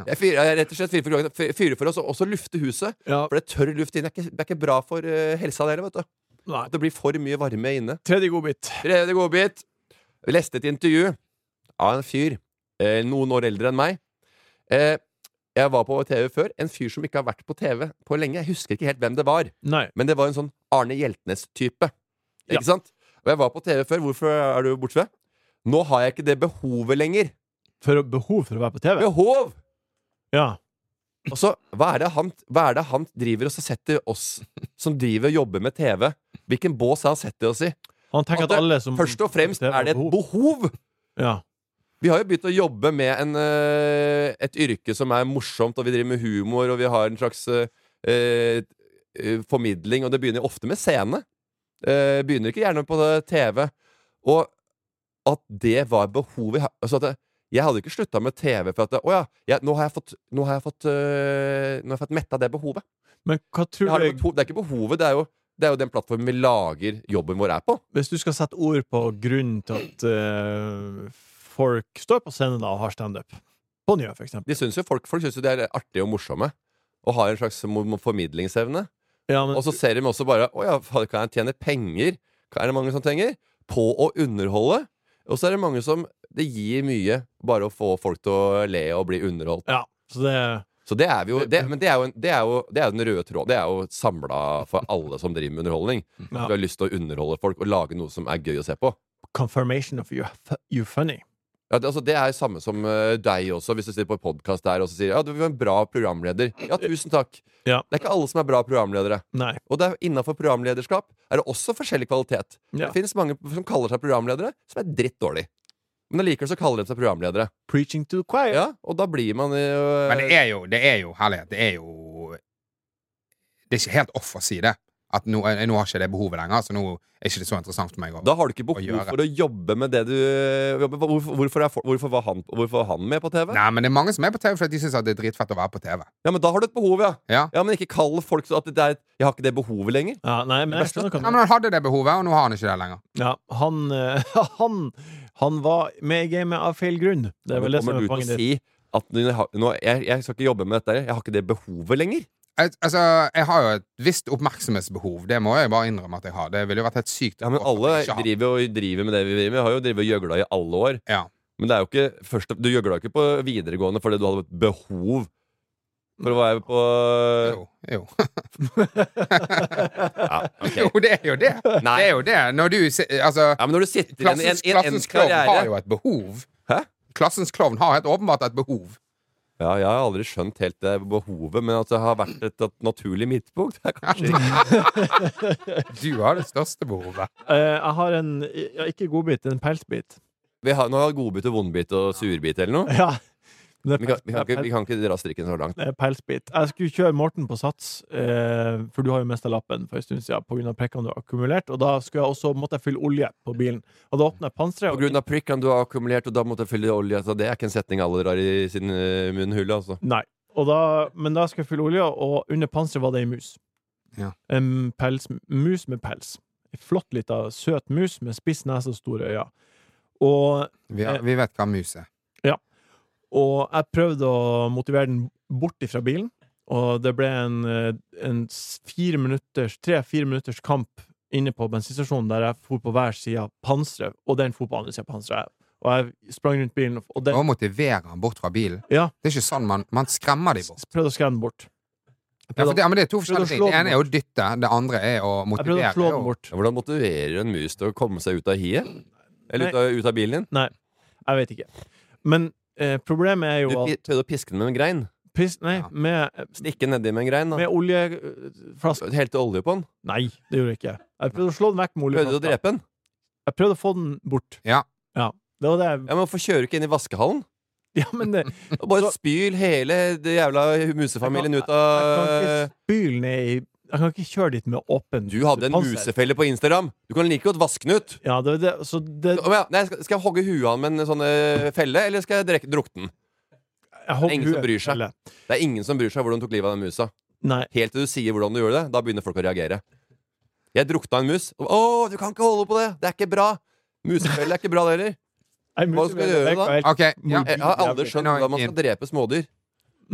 Speaker 2: Jeg fyrer, jeg rett og slett fyrer for, klokken- fy- fyrer for å så- også lufte huset.
Speaker 1: Ja,
Speaker 2: For det er tørr luft inne. Det er ikke, det er ikke bra for eh, helsa der, vet du.
Speaker 1: nei.
Speaker 2: At det blir for mye varme inne.
Speaker 1: Tredje godbit.
Speaker 2: Tredje godbit. Vi leste et intervju av en fyr eh, noen år eldre enn meg. Eh, jeg var på TV før. En fyr som ikke har vært på TV på lenge. Jeg husker ikke helt hvem det var,
Speaker 1: Nei.
Speaker 2: men det var en sånn Arne Hjeltnes-type.
Speaker 1: Ja.
Speaker 2: Ikke sant? Og jeg var på TV før. Hvorfor er du borte? fra? Nå har jeg ikke det behovet lenger.
Speaker 1: For å- behov for å være på TV?
Speaker 2: Behov!
Speaker 1: Ja.
Speaker 2: Og så, hva er det han, hva er det han driver og så setter oss som driver og jobber med TV? Hvilken bås har han setter oss i?
Speaker 1: Han tenker
Speaker 2: At
Speaker 1: at,
Speaker 2: det-
Speaker 1: alle som
Speaker 2: Først og fremst
Speaker 1: TV
Speaker 2: er det et
Speaker 1: behov.
Speaker 2: behov!
Speaker 1: Ja.
Speaker 2: Vi har jo begynt å jobbe med en, eh, et yrke som er morsomt, og vi driver med humor, og vi har en slags eh, eh, eh, formidling, og det begynner ofte med scene. Eh, begynner ikke gjerne på eh, TV. Og at det var behovet jeg ha- altså at jeg, jeg hadde ikke slutta med TV for at det- Å ja, jeg, nå har jeg fått, nå har jeg fått, eh, nå har jeg fått metta det behovet.
Speaker 1: Men hva
Speaker 2: Jeg
Speaker 1: tror
Speaker 2: har det,
Speaker 1: du
Speaker 2: beho- det er ikke behovet, det er, jo, det er jo den plattformen vi lager jobben vår er på.
Speaker 1: Hvis du skal sette ord på grunnen til at eh, folk står på scenen da og har standup På Njø, for eksempel.
Speaker 2: De synes jo, folk folk syns jo de er artige og morsomme, og har en slags mo- mo- formidlingsevne.
Speaker 1: Ja, men,
Speaker 2: Og så ser de også bare Å ja, faen, kan jeg tjene penger? Hva er det mange som trenger? På å underholde. Og så er det mange som Det gir mye bare å få folk til å le og bli underholdt.
Speaker 1: ja, så det
Speaker 2: Så det er vi jo det, Men det er jo, en, det er jo, det er jo den røde tråden. Det er jo samla for alle som driver med underholdning.
Speaker 1: Ja.
Speaker 2: Du har lyst til å underholde folk og lage noe som er gøy å se på.
Speaker 1: Confirmation of you, you funny.
Speaker 2: Ja, det, altså, det er samme som eh, deg også, hvis du sitter på podkast der og så sier ja, du var en bra programleder. Ja, tusen takk.
Speaker 1: Ja.
Speaker 2: Det er ikke alle som er bra programledere.
Speaker 1: Nei.
Speaker 2: Og det er innafor programlederskap er det også forskjellig kvalitet.
Speaker 1: Ja.
Speaker 2: Det finnes mange som kaller seg programledere, som er dritt dårlig. Men allikevel så kaller de seg programledere.
Speaker 1: Preaching to the choir.
Speaker 2: Ja, og da blir man eh, jo
Speaker 3: men det er jo, det er jo herlighet. Det er jo Det er ikke helt off å si det. At nå, eh, nå har ikke det behovet lenger, så nå er ikke det så interessant for meg. å-
Speaker 2: Da har du ikke
Speaker 3: Å
Speaker 2: behov
Speaker 3: gjøre.
Speaker 2: for å jobbe med det du jobber Hvorfor, hvorfor, er, for- hvorfor, var, han, hvorfor var han med på TV?
Speaker 3: Nei, men det er mange som er på TV fordi de syns det er dritfett å være på TV.
Speaker 2: Ja, men da har du et behov, ja.
Speaker 3: Ja.
Speaker 2: Ja, Men ikke kall folk så at det er Jeg har ikke det behovet lenger.
Speaker 1: Ja, nei, men jeg skjønner hva
Speaker 3: Ja,
Speaker 1: du
Speaker 3: men han hadde det behovet, og nå har han ikke det lenger.
Speaker 1: Ja, han, eh, han, han var med i gamet av feil grunn. Det er vel det som
Speaker 2: kommer
Speaker 1: er
Speaker 2: du til
Speaker 1: poenget
Speaker 2: å
Speaker 1: ditt.
Speaker 2: si at nå, nå, jeg, jeg skal ikke jobbe med dette, her. jeg har ikke det behovet lenger?
Speaker 3: Jeg, altså, jeg har jo et visst oppmerksomhetsbehov. Det må jeg bare innrømme at jeg har. Det ville jo vært helt sykt.
Speaker 2: Ja, men
Speaker 3: å
Speaker 2: alle
Speaker 3: ikke ha.
Speaker 2: driver, og driver med det vi driver med. Vi har jo drevet og gjøgla i alle år.
Speaker 3: Ja.
Speaker 2: Men det er jo ikke først, du gjøgla ikke på videregående fordi du hadde et behov for å være på eh,
Speaker 3: Jo, jo.
Speaker 2: ja, ok.
Speaker 3: jo, det er jo det.
Speaker 2: Nei.
Speaker 3: Det er jo det. Når du se- Altså,
Speaker 2: ja, men når du sitter i en, en,
Speaker 3: klassens,
Speaker 2: en, en
Speaker 3: klassens klovn har
Speaker 2: karriere
Speaker 3: jo et behov.
Speaker 2: Hæ?
Speaker 3: Klassens klovn har helt åpenbart et behov.
Speaker 2: Ja, jeg har aldri skjønt helt det behovet, men at det har vært et, et naturlig midtpunkt. Det er kanskje
Speaker 3: Du har det største behovet.
Speaker 1: Eh, jeg har en ja, ikke godbit, en pelsbit.
Speaker 2: vi har, Nå har vi godbit og vondbit og surbit eller noe.
Speaker 1: Ja. Men
Speaker 2: Vi
Speaker 1: det
Speaker 2: kan,
Speaker 1: er
Speaker 2: vi, kan ikke, vi kan ikke dra strikken så langt.
Speaker 1: Det er pelsbit. Jeg skulle kjøre Morten på sats, eh, for du har jo mista lappen for en stund siden pga. prikkene du har akkumulert, og da skulle jeg også måtte jeg fylle olje på bilen. Og da åpna jeg panseret,
Speaker 2: På grunn av prikkene du har akkumulert, og da måtte jeg fylle olje. Så det er ikke en setning alle drar i sin eh, munnhull, altså.
Speaker 1: Nei. Og da, men da skulle jeg fylle olja, og under panseret var det ei mus.
Speaker 3: Ja.
Speaker 1: En pels, mus med pels. Ei flott lita, søt mus med spiss nese og store øyne. Og,
Speaker 3: Vi, har, vi vet hva mus er.
Speaker 1: og jeg prøvde å motivere den bort ifra bilen, og det ble en, eh, en s- fire minutters, tre-fire minutters kamp inne på bensinstasjonen der jeg for på hver side av panseret, og den for på andre sida av panseret. Og jeg sprang rundt bilen, og den
Speaker 3: Å motivere han bort fra bilen.
Speaker 1: Ja.
Speaker 3: Det er ikke sånn man, man skremmer de bort.
Speaker 1: prøvde å skremme den bort. Jeg
Speaker 3: Ja, for
Speaker 1: prøvde,
Speaker 3: det, ja, men det er to
Speaker 1: Prøv å
Speaker 3: forskjellige ting.
Speaker 1: slå
Speaker 3: Det
Speaker 1: den
Speaker 3: ene er å dytte, det andre er å
Speaker 1: jeg prøvde
Speaker 3: motivere.
Speaker 1: å slå
Speaker 3: Jo.
Speaker 1: den bort.
Speaker 2: Ja, Hvordan motiverer du en mus til å komme seg ut av hiet? Eller ut av, ut av bilen din?
Speaker 1: Nei. Jeg vet ikke. Men eh, problemet er
Speaker 2: Du
Speaker 1: jo
Speaker 2: pi-
Speaker 1: at
Speaker 2: prøvde å piske den med en grein.
Speaker 1: piss, Nei,
Speaker 3: Ja.
Speaker 1: med,
Speaker 2: Stikke nedi med en grein. da
Speaker 1: med oljeflaske
Speaker 2: Helte olje på den.
Speaker 1: Nei, det gjorde jeg ikke. Jeg prøvde å slå den vekk med
Speaker 2: Prøvde du å
Speaker 1: oljeflaska.
Speaker 2: drepe den?
Speaker 1: Jeg prøvde å få den bort.
Speaker 3: Ja.
Speaker 1: Det var det jeg
Speaker 2: Ja, men Hvorfor kjører du ikke inn i vaskehallen?
Speaker 1: Ja, men det,
Speaker 2: Og bare spyl hele det jævla musefamilien ut
Speaker 1: jeg kan
Speaker 2: av
Speaker 1: ikke spyle ned i Jeg kan ikke kjøre dit med åpen
Speaker 2: Du hadde en
Speaker 1: panser.
Speaker 2: musefelle på Instagram! Du kan like godt vaske den ut!
Speaker 1: Ja, det, det, så det
Speaker 2: Om jeg- Nei, skal, skal jeg hogge huet av han med en sånn eh, felle, eller skal jeg drekke- drukne den?
Speaker 1: jeg håper
Speaker 2: ingen som
Speaker 1: hun-
Speaker 2: bryr seg.
Speaker 1: eller-
Speaker 2: Det er ingen som bryr seg hvordan du tok livet av den musa.
Speaker 1: Nei.
Speaker 2: Helt til du sier hvordan du gjorde det, da begynner folk å reagere. Jeg drukna en mus. Å, du kan ikke holde på det! Det er ikke bra! Musefelle er ikke bra, det heller.
Speaker 1: Nei,
Speaker 2: Hva skal du gjøre
Speaker 1: musefella
Speaker 2: da?
Speaker 1: virker helt-
Speaker 3: OK. Ja.
Speaker 2: Jeg har aldri skjønt
Speaker 3: Nå er jeg
Speaker 2: hvordan man skal
Speaker 3: inn.
Speaker 2: drepe smådyr.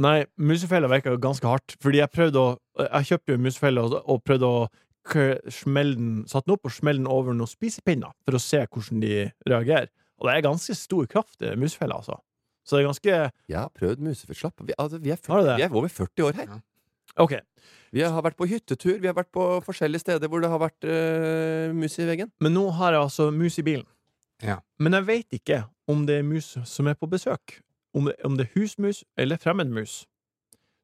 Speaker 1: Nei, musefella virker ganske hardt. Fordi jeg prøvde å Jeg kjøpte jo en musefelle og, og prøvde å k- smelle den Satte den opp og smelle den over noen spisepinner for å se hvordan de reagerer. Og det er ganske stor kraft i musefella, altså. Så det er ganske
Speaker 2: Jeg har prøvd musefettslapp. Vi, altså, vi, er
Speaker 1: Har du
Speaker 2: 40,
Speaker 1: det?
Speaker 2: vi er over 40 år her.
Speaker 1: OK.
Speaker 2: Vi har vært på hyttetur, vi har vært på forskjellige steder hvor det har vært eh, mus i veggen.
Speaker 1: Men nå har jeg altså mus i bilen.
Speaker 3: Ja.
Speaker 1: Men jeg veit ikke om det er mus som er på besøk. Om det, om det er husmus eller fremmedmus.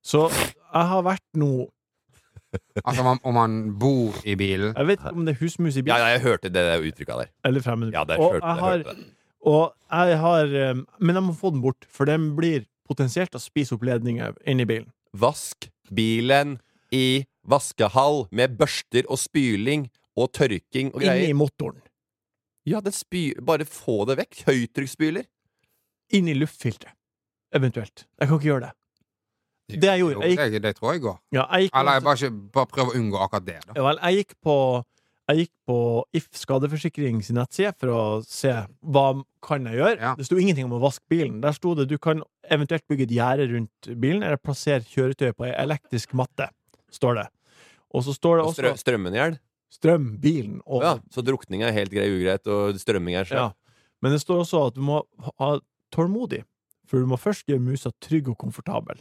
Speaker 1: Så jeg har vært nå
Speaker 3: Altså om han, om han bor i bilen.
Speaker 1: Jeg vet ikke om det er husmus i bilen
Speaker 2: Ja, ja, jeg hørte det der uttrykket der.
Speaker 1: eller fremmedmus.
Speaker 2: Ja, det
Speaker 1: og
Speaker 2: hørte,
Speaker 1: jeg
Speaker 2: jeg
Speaker 1: har
Speaker 2: hørte det.
Speaker 1: Og jeg har eh, Men jeg må få den bort, for den blir potensielt å spise opp ledninger inni bilen.
Speaker 2: Vask bilen i vaskehall med børster og spyling og tørking og
Speaker 1: Inni
Speaker 2: greier.
Speaker 1: motoren.
Speaker 2: Ja, det spy Bare få det vekk. Høytrykksspyler.
Speaker 1: Inni luftfilteret. Eventuelt. Jeg kan ikke gjøre det. Det jeg gjorde,
Speaker 3: Jo,
Speaker 1: jeg gikk-
Speaker 3: det, det tror jeg går.
Speaker 1: Ja, jeg gikk,
Speaker 3: Eller jeg bare, ikke, bare prøver å unngå akkurat det. da
Speaker 1: ja, vel, jeg gikk på jeg gikk på If Skadeforsikring sin nettside for å se hva kan jeg gjøre.
Speaker 3: Ja.
Speaker 1: Det sto ingenting om å vaske bilen. Der sto det du kan eventuelt bygge et gjerde rundt bilen, eller plassere kjøretøyet på ei elektrisk matte, står det. Og så står det
Speaker 2: Og strø
Speaker 1: også
Speaker 2: strømmen i hjel.
Speaker 1: strøm, bilen og
Speaker 2: Ja, så drukning er helt grei ugreit, og strømming er
Speaker 1: Ja.
Speaker 2: sjef.
Speaker 1: Men det står også at du må ha tålmodig, for du må først gjøre musa trygg og komfortabel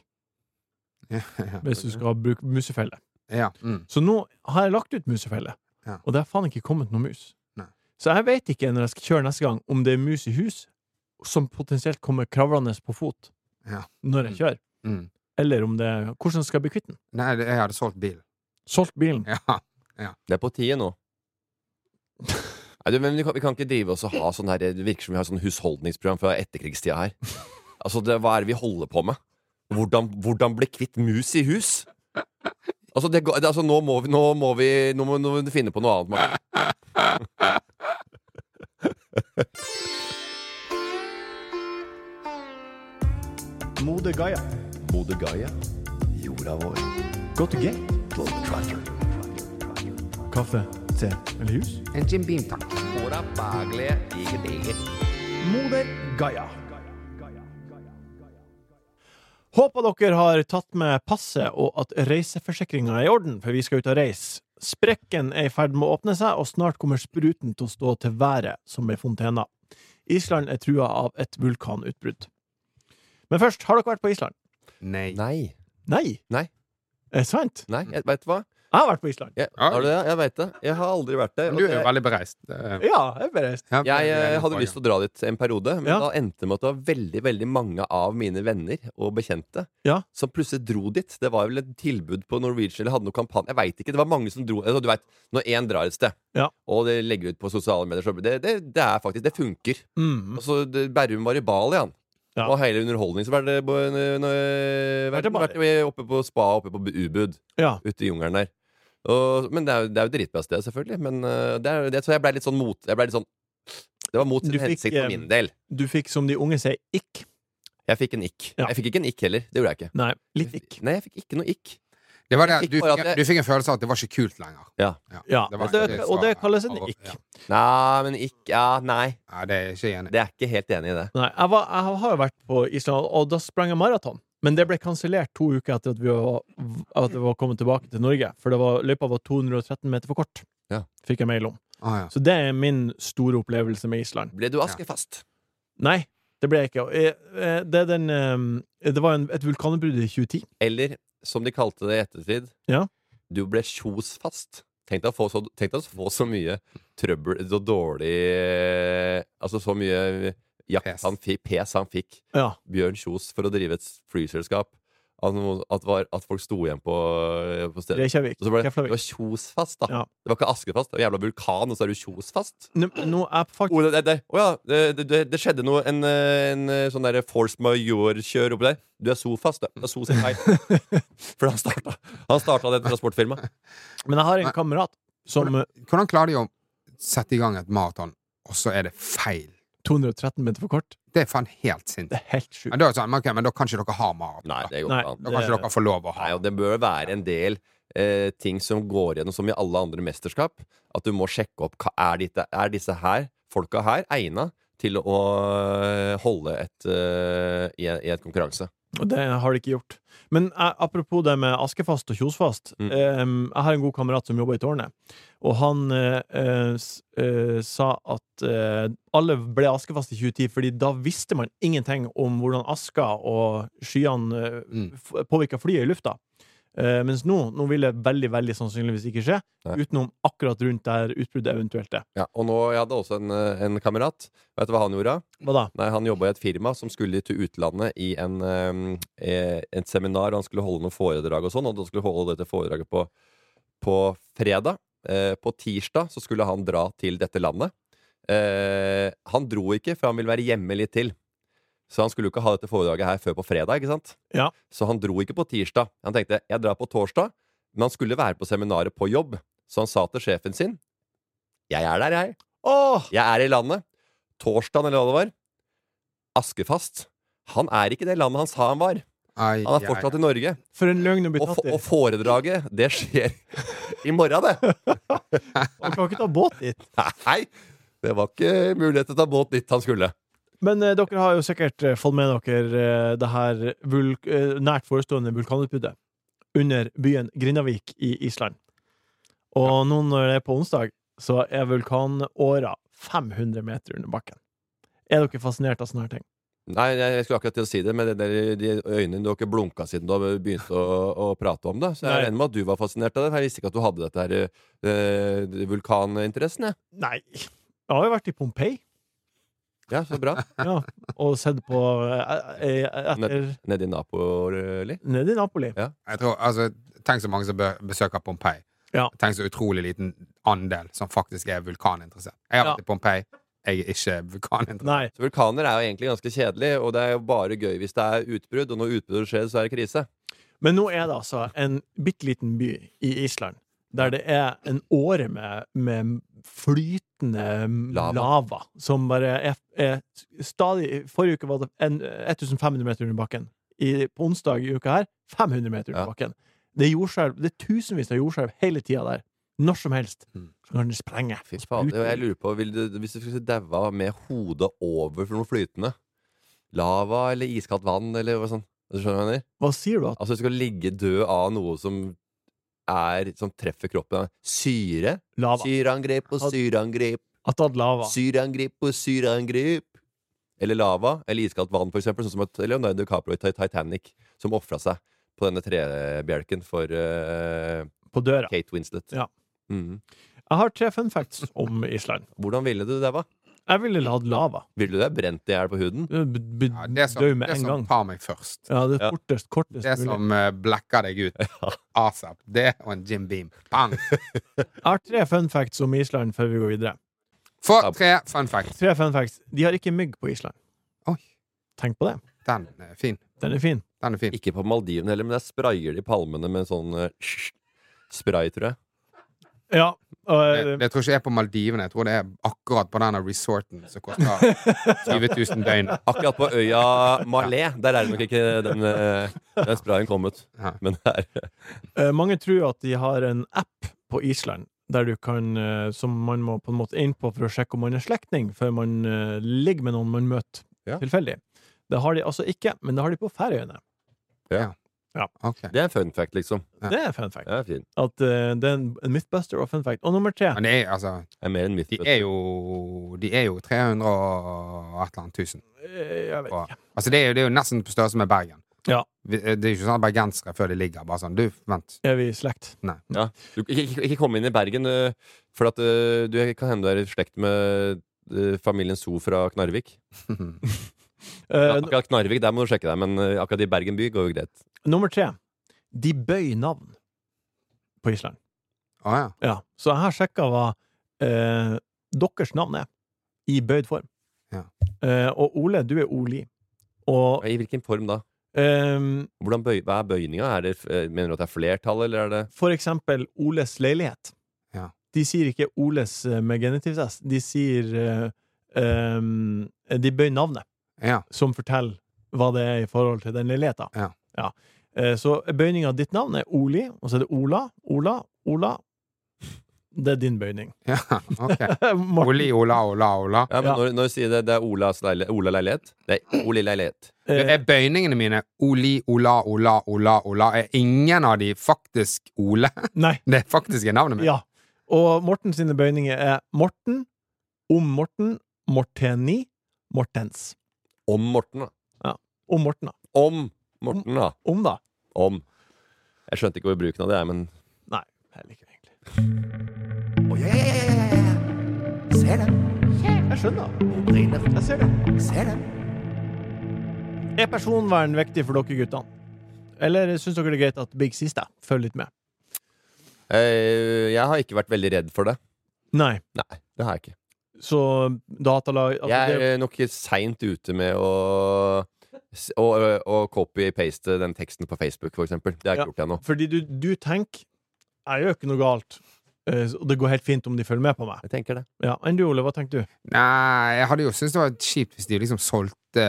Speaker 3: Ja.
Speaker 1: hvis du skal bruke musefelle.
Speaker 3: Ja. Mm.
Speaker 1: Så nå har jeg lagt ut musefelle,
Speaker 3: Ja.
Speaker 1: og det har faen ikke kommet noen mus.
Speaker 3: Nei.
Speaker 1: Så jeg vet ikke når jeg skal kjøre neste gang, om det er mus i hus som potensielt kommer kravlende på fot
Speaker 3: Ja.
Speaker 1: når jeg kjører,
Speaker 3: Mm.
Speaker 1: eller om det er Hvordan skal jeg bli kvitt den?
Speaker 3: Nei, det- jeg hadde solgt bilen.
Speaker 1: Solgt bilen?
Speaker 3: Ja.
Speaker 2: Det er på tide nå. Nei, du, men vi kan, vi kan ikke drive oss og ha sånn her Det virker som vi har sånn husholdningsprogram fra etterkrigstida her. Altså, det, Hva er det vi holder på med? Hvordan, hvordan bli kvitt mus i hus? Altså, det, går- det, altså nå, må vi, nå må vi Nå må nå må vi finne på noe annet. Martin.
Speaker 1: Mode Gaia.
Speaker 2: Bodø Gaia. Jorda vår.
Speaker 1: Go to gate. Kaffe, te eller jus?
Speaker 3: En Jim Beam, takk.
Speaker 1: Moder Gaia. Håper dere har tatt med passet og at reiseforsikringa er i orden, for vi skal ut og reise. Sprekken er i ferd med å åpne seg, og snart kommer spruten til å stå til været som ei fontene. Island er trua av et vulkanutbrudd. Men først, har dere vært på Island?
Speaker 3: Nei.
Speaker 2: Nei.
Speaker 1: Nei?
Speaker 2: Nei.
Speaker 1: Er det sant?
Speaker 2: Nei, jeg veit hva.
Speaker 1: Jeg har vært på Island.
Speaker 2: Jeg,
Speaker 3: Ja.
Speaker 2: har du det? Jeg vet det. Jeg har aldri vært der.
Speaker 3: Men
Speaker 2: og
Speaker 3: Du er jo
Speaker 2: jeg-
Speaker 3: veldig bereist. Det-
Speaker 1: Ja, jeg bare
Speaker 3: Ja,
Speaker 2: Jeg eh, hadde lyst til å dra dit en periode, men
Speaker 1: Ja.
Speaker 2: da endte det med at det var veldig veldig mange av mine venner og bekjente
Speaker 1: Ja.
Speaker 2: som plutselig dro dit. Det var vel et tilbud på Norwegian eller hadde noe kampanje. Jeg vet ikke, det var mange som dro altså, Du vet, Når én drar et sted,
Speaker 1: Ja.
Speaker 2: og det legger ut på sosiale medier, så det, det, det er faktisk Det funker.
Speaker 1: mm.
Speaker 2: Altså, det- Berrum var i Bali, han.
Speaker 1: Ja.
Speaker 2: Og hele underholdningsverdenen
Speaker 1: Vært i Bali.
Speaker 2: eh, vært oppe på spa, oppe på Ubud
Speaker 1: Ja.
Speaker 2: ute i jungelen der. Og, men det er, jo- det er jo dritbra sted, selvfølgelig. Men øh, det er, det, så jeg blei litt sånn mot jeg ble litt sånn, Det var mot sin
Speaker 1: Du fikk,
Speaker 2: hensikt for
Speaker 1: eh,
Speaker 2: min del.
Speaker 1: Du fikk, som de unge sier, ikk.
Speaker 2: Jeg fikk en ikk.
Speaker 1: Ja.
Speaker 2: Jeg fikk ikke en ikk heller. Det gjorde jeg ikke.
Speaker 1: Nei, litt ikk.
Speaker 2: Nei, jeg fikk ikke noe ikk.
Speaker 3: Det var det.
Speaker 2: Jeg
Speaker 3: Du,
Speaker 2: fikk bare at
Speaker 3: fikk-
Speaker 2: jeg-
Speaker 3: du fikk en følelse av at det var ikke kult lenger.
Speaker 2: Ja.
Speaker 1: Ja,
Speaker 3: det var
Speaker 1: og det-
Speaker 3: ikke
Speaker 1: og det
Speaker 3: svaret.
Speaker 1: kalles en ikk.
Speaker 3: Ja.
Speaker 2: Nei, men ikk Ja, nei.
Speaker 3: Nei, det er jeg ikke enig. i.
Speaker 2: Det er ikke helt enig i det.
Speaker 1: Nei, jeg, var, jeg har jo vært på Island, og da sprang jeg maraton. Men det ble kansellert to uker etter at vi var, at vi var kommet tilbake til Norge. For det var, løypa var 213 meter for kort,
Speaker 2: Ja.
Speaker 1: fikk jeg mail om.
Speaker 3: Å, Ah, ja.
Speaker 1: Så det er min store opplevelse med Island.
Speaker 2: Ble du askefast?
Speaker 1: Nei, det ble jeg ikke. Og, eh, eh, Det, er den, eh, det var en, et vulkanutbrudd i 2010.
Speaker 2: Eller som de kalte det i ettertid,
Speaker 1: Ja.
Speaker 2: du ble kjosfast. Tenk deg å få så, tenk deg å få så mye trøbbel, så dårlig eh, Altså så mye jakt
Speaker 3: Pes.
Speaker 2: han fikk, pes han fikk
Speaker 1: Ja.
Speaker 2: Bjørn Kjos for å drive et flyselskap. At, noen- at, var, at folk sto igjen på, på stedet.
Speaker 1: Reykjavik.
Speaker 2: Og så ble det, det
Speaker 1: Keflavik.
Speaker 2: var Kjosfast, da.
Speaker 1: Ja.
Speaker 2: Det var ikke Askefast. Det var jævla vulkan, og så er det Kjosfast.
Speaker 1: Nå, nå er faktisk
Speaker 2: Oh, det, det, det, å ja, det, det, det skjedde noe En, eh, en eh, sånn der force majeure-kjør oppi der. Du er Sofast, du. Det er So sin feil. For han starta, han starta det transportfirmaet.
Speaker 1: Men jeg har en kamerat som eh,
Speaker 3: Hvordan klarer de å sette i gang et maraton, og så er det feil?
Speaker 1: 213 meter for kort.
Speaker 3: Det er faen helt sinnssykt.
Speaker 1: Det er helt sjukt.
Speaker 3: Men da, er det sånn, ok, men da kan ikke dere ha maraton.
Speaker 2: Nei,
Speaker 3: Da.
Speaker 2: det går
Speaker 1: Nei.
Speaker 2: ikke an.
Speaker 3: da kan ikke
Speaker 1: det-
Speaker 3: dere få lov å ha
Speaker 2: Nei, og det bør være en del eh, ting som går igjennom, som i alle andre mesterskap. At du må sjekke opp hva er, dette, er disse her, folka her egna til å eh, holde et, eh, i, en- i et konkurranse.
Speaker 1: Og det har de ikke gjort. Men eh, apropos det med Askefast og Kjosfast.
Speaker 2: Mm.
Speaker 1: Eh, jeg har en god kamerat som jobber i tårnet, og han eh, eh, s- eh, sa at eh, alle ble Askefast i 2010, fordi da visste man ingenting om hvordan aska og skyene eh,
Speaker 3: Mm.
Speaker 1: f- påvirka flyet i lufta. Eh, mens nå, nå vil det veldig veldig sannsynligvis ikke skje,
Speaker 2: Nei.
Speaker 1: utenom akkurat rundt der utbruddet eventuelt er.
Speaker 2: Ja, og nå, jeg hadde også en, eh, en kamerat. Vet du hva han gjorde?
Speaker 1: Hva da?
Speaker 2: Nei, Han jobba i et firma som skulle til utlandet i en, eh, eh, et seminar. og Han skulle holde noen foredrag og sånn, og han skulle holde dette foredraget på, på fredag. Eh, på tirsdag så skulle han dra til dette landet. Eh, han dro ikke, for han ville være hjemme litt til. Så han skulle jo ikke ha dette foredraget her før på fredag. ikke sant?
Speaker 1: Ja.
Speaker 2: Så han dro ikke på tirsdag. Han tenkte jeg drar på torsdag, men han skulle være på seminaret på jobb. Så han sa til sjefen sin Jeg er der, jeg.
Speaker 1: Åh!
Speaker 2: Jeg er i landet. Torsdagen, eller hva det var. Askefast. Han er ikke i det landet han sa han var.
Speaker 3: Ai,
Speaker 2: Han er fortsatt i Norge.
Speaker 1: For en løgn å bli
Speaker 2: Og,
Speaker 1: tatt
Speaker 2: f-
Speaker 1: i.
Speaker 2: og foredraget, det skjer i morgen, det.
Speaker 1: Man kan ikke ta båt dit.
Speaker 2: Nei! Det var ikke mulighet til å ta båt dit han skulle.
Speaker 1: Men eh, dere har jo sikkert eh, fått med dere eh, det her vulk eh, nært forestående vulkanutbruddet under byen Grindavik i Island. Og nå når det er på onsdag, så er vulkanåra 500 meter under bakken. Er dere fascinert av sånne her ting?
Speaker 2: Nei, jeg jeg skulle akkurat til å si det, men det der, de øynene du har ikke blunka siden du har begynt å, å prate om det. Så jeg
Speaker 1: Nei.
Speaker 2: regner med at du var fascinert av det. Jeg visste ikke at du hadde dette her eh, vulkaninteressen, jeg.
Speaker 1: Nei. Jeg har jo vært i Pompeii
Speaker 2: Ja, så bra.
Speaker 1: ja, og sett på eh, eh, etter
Speaker 2: Nede i Napoli.
Speaker 1: Nede i Napoli.
Speaker 3: Jeg tror, altså, tenk så mange som be- besøker Pompeii.
Speaker 1: Ja.
Speaker 3: Tenk så utrolig liten andel som faktisk er vulkaninteressert. Jeg har
Speaker 1: Ja.
Speaker 3: vært i Pompeii. Jeg er ikke vulkaninteressert.
Speaker 1: Nei.
Speaker 2: Så vulkaner er jo egentlig ganske kjedelig, og det er jo bare gøy hvis det er utbrudd. Og når utbrudd skjer, så er det krise.
Speaker 1: Men nå er det altså en bitte liten by i Island der det er en åre med, med flytende
Speaker 2: Lava.
Speaker 1: lava. som bare er, er stadig Forrige uke var det en, 1500 meter under bakken. I, på onsdag i uka her 500 meter under
Speaker 2: Ja.
Speaker 1: bakken. Det er jordskjelv. Det er tusenvis av jordskjelv hele tida der. Når som helst. Så kan det sprenge.
Speaker 2: Fy fader. Og jeg lurer på, vil du, hvis du skulle daua med hodet over for noe flytende Lava eller iskaldt vann eller hva sånn. Du skjønner hva jeg mener?
Speaker 1: Hva sier du? at
Speaker 2: Altså, du skal ligge død av noe som er Som treffer kroppen. Syre.
Speaker 1: Lava.
Speaker 2: Syreangrep og
Speaker 1: At-
Speaker 2: syreangrep.
Speaker 1: At det er lava.
Speaker 2: Syreangrep og syreangrep. Eller lava. Eller iskaldt vann, for eksempel. Sånn som at Leonardo DiCaprio i Ti- Titanic, som ofra seg på denne trebjelken for eh,
Speaker 1: På døra.
Speaker 2: Kate Winslet.
Speaker 1: Ja.
Speaker 2: Mhm.
Speaker 1: Jeg har tre fun facts om Island.
Speaker 2: Hvordan ville du det, hva?
Speaker 1: Jeg ville latt lava.
Speaker 2: Ville du deg brent i hjel på huden?
Speaker 1: Du b-
Speaker 3: Ja, det som,
Speaker 1: dø med
Speaker 3: det
Speaker 1: en gang.
Speaker 3: som tar meg først.
Speaker 1: Ja, det
Speaker 2: Ja.
Speaker 1: er fortest, kortest
Speaker 3: Det
Speaker 1: mulig.
Speaker 3: som eh, blacker deg ut asap. Det og en Jim Beam. Bang!
Speaker 1: Jeg har tre fun facts om Island før vi går videre.
Speaker 3: For tre fun facts.
Speaker 1: Tre fun facts. De har ikke mygg på Island.
Speaker 3: Oi,
Speaker 1: Tenk på det.
Speaker 3: den er fin.
Speaker 1: Den er fin.
Speaker 3: Den er fin.
Speaker 2: Ikke på Maldivene heller, men der sprayer de palmene med sånn eh, spray, tror jeg.
Speaker 1: Ja. Og, eh,
Speaker 3: Det, det tror ikke jeg er på Maldivene. Jeg tror det er akkurat på denne resorten som koster 20 000 døgn.
Speaker 2: Akkurat på øya Malé. Der er det nok ikke den, eh, den sprayen kommet.
Speaker 3: Ja.
Speaker 2: Men det er
Speaker 1: eh, mange tror at de har en app på Island der du kan, eh, som man må på en måte inn på for å sjekke om man er slektning før man eh, ligger med noen man møter
Speaker 2: Ja.
Speaker 1: tilfeldig. Det har de altså ikke, men det har de på Færøyene.
Speaker 3: Ok.
Speaker 2: Det er en fun fact, liksom.
Speaker 3: Ja.
Speaker 1: Det er en fun fact.
Speaker 2: Det er fin.
Speaker 1: At, eh, det er en en mythbuster og fun fact. Og nummer tre.
Speaker 3: Men det er altså
Speaker 2: Det er mer enn mitt.
Speaker 3: De er jo, de er jo 300 og et eller annet tusen.
Speaker 1: Eh, Jeg vet
Speaker 3: Og,
Speaker 1: ikke.
Speaker 3: altså det, er jo, det er jo nesten på størrelse med Bergen.
Speaker 1: Ja.
Speaker 3: Vi- Det er jo ikke sånn at bergensere før de ligger bare sånn Du, vent.
Speaker 1: Er vi i slekt?
Speaker 2: øh, Du, ikke, ikke, ikke komme inn i Bergen, eh, for at eh, du kan hende du er i slekt med eh, familien So fra Knarvik.
Speaker 1: Eh,
Speaker 2: Akkurat Knarvik, der må du sjekke deg, men eh, akkurat i Bergen by går jo greit.
Speaker 1: Nummer tre. De bøy navn på Island.
Speaker 3: Å ja.
Speaker 1: Ja. Så jeg har sjekka hva eh, deres navn er, i bøyd form.
Speaker 3: Ja.
Speaker 1: Eh, og Ole, du er Oli. Og
Speaker 2: I hvilken form da?
Speaker 1: ehm,
Speaker 2: Hvordan bøy, hva er bøyninga? Er det, eh, mener du at det er flertall, eller er det
Speaker 1: for eksempel Oles leilighet.
Speaker 3: Ja.
Speaker 1: De sier ikke Oles eh, med genitiv S, de sier eh, ehm, De bøyer navnet,
Speaker 3: ja.
Speaker 1: som forteller hva det er i forhold til den leiligheta.
Speaker 3: Ja.
Speaker 1: Eh, så bøyninga av ditt navn er Oli, og så er det Ola, Ola, Ola. Det er din bøyning.
Speaker 3: ja. Ok.
Speaker 1: Morten,
Speaker 3: Oli, ola, ola, ola.
Speaker 2: ja, men
Speaker 1: Ja.
Speaker 2: Når, når du sier det, det er Olas leilighet Ola leilighet? Nei, Oli leilighet.
Speaker 1: eh,
Speaker 3: Er bøyningene mine Oli, ola, ola, ola, ola? Er ingen av de faktisk Ole?
Speaker 1: Nei.
Speaker 3: Det er faktisk navnet mitt.
Speaker 1: Ja. Og Morten sine bøyninger er Morten, om Morten, Morteni, Mortens.
Speaker 2: Om Morten, da.
Speaker 1: Om Morten, da.
Speaker 2: Om Morten, da.
Speaker 1: Om, da.
Speaker 2: Om. Jeg skjønte ikke hvor bruken av det er, men
Speaker 1: Nei, heller ikke egentlig.
Speaker 4: Oh, yeah, yeah, yeah, yeah, yeah, yeah. Ser dem.
Speaker 1: Jeg skjønner.
Speaker 4: Hun brenner.
Speaker 1: Jeg ser det.
Speaker 4: Ser dem.
Speaker 1: Er personvern viktig for dere guttene? Eller syns dere det er greit at Big Sista følger litt med?
Speaker 2: eh, jeg har ikke vært veldig redd for det.
Speaker 1: Nei.
Speaker 2: Nei, det har jeg ikke.
Speaker 1: Så datalag
Speaker 2: jeg
Speaker 1: altså,
Speaker 2: er
Speaker 1: det,
Speaker 2: eh, nok seint ute med å s- å, ø, å copy-paste den teksten på Facebook, for eksempel. Det har jeg ikke gjort ennå.
Speaker 1: Fordi du, du tenker Jeg gjør ikke noe galt. Eh, Og det går helt fint om de følger med på meg.
Speaker 2: Jeg tenker det.
Speaker 1: Ja, Enn du, Ole? Hva tenker du?
Speaker 3: Nei, jeg hadde jo syntes det var kjipt hvis de liksom solgte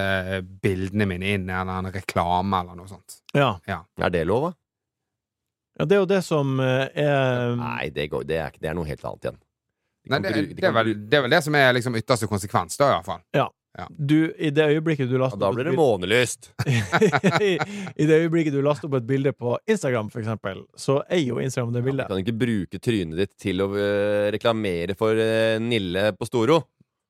Speaker 3: bildene mine inn i en eller annen reklame eller noe sånt.
Speaker 1: Ja.
Speaker 2: Er det lov, da?
Speaker 1: ja det er jo det som eh, er
Speaker 2: Nei, det, går, det, er, ikke- det er noe helt annet igjen. De
Speaker 3: Nei,
Speaker 2: kan
Speaker 3: det,
Speaker 2: bruke- de
Speaker 3: det, er
Speaker 2: kan
Speaker 3: vel,
Speaker 2: bruke-
Speaker 3: det er vel det som er liksom ytterste konsekvens, da, i hvert fall.
Speaker 1: Du, I det øyeblikket du
Speaker 2: ja,
Speaker 1: laster
Speaker 2: altså, da
Speaker 1: opp et
Speaker 2: blir det
Speaker 1: bilde-
Speaker 2: månelyst!
Speaker 1: I i det øyeblikket du laster opp et bilde på Instagram, for eksempel, så er jo Instagram det
Speaker 2: Ja, du
Speaker 1: bildet.
Speaker 2: kan ikke bruke trynet ditt til å ø, reklamere for ø, Nille på Storo.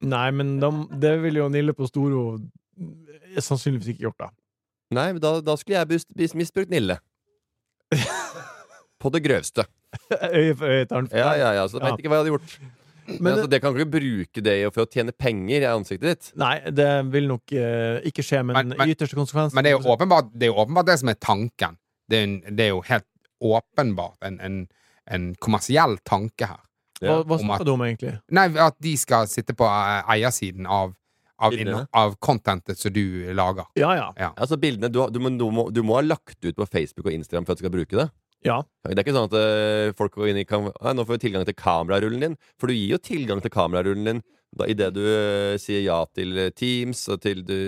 Speaker 1: Nei, men dem- det ville jo Nille på Storo eh, sannsynligvis ikke gjort, da.
Speaker 2: Nei, men da, da skulle jeg bus- bis- misbrukt Nille. På det grøvste.
Speaker 1: Øye for øye, tann for
Speaker 2: Ja,
Speaker 1: tann.
Speaker 2: ja, ja. Så jeg
Speaker 1: Ja.
Speaker 2: vet ikke hva jeg hadde gjort. Men,
Speaker 1: Men
Speaker 2: altså, det kan du ikke bruke det i- for å tjene penger i ansiktet ditt.
Speaker 1: Nei, det vil nok eh, ikke skje, men,
Speaker 3: Men- men-
Speaker 1: i ytterste konsekvens
Speaker 3: Men det er jo åpenbart det, er jo åpenbart det som er tanken. Det er, en, det er jo helt åpenbart en, en, en kommersiell tanke her.
Speaker 1: Hva,
Speaker 2: Ja,
Speaker 1: hva
Speaker 3: om at-
Speaker 1: snakker du om, egentlig?
Speaker 3: Nei, at de skal sitte på eh, eiersiden av, av,
Speaker 2: Bildene.
Speaker 3: innhold- av contentet som du lager.
Speaker 1: Ja, ja.
Speaker 2: Altså bildene, du, har- du, må- du, må, du må ha lagt ut på Facebook og Instagram for at du skal bruke det.
Speaker 1: Ja.
Speaker 2: Det er ikke sånn at eh, folk går inn i kam «Nei, Nå får vi tilgang til kamerarullen din. For du gir jo tilgang til kamerarullen din da, i det du eh, sier ja til eh, Teams og til du,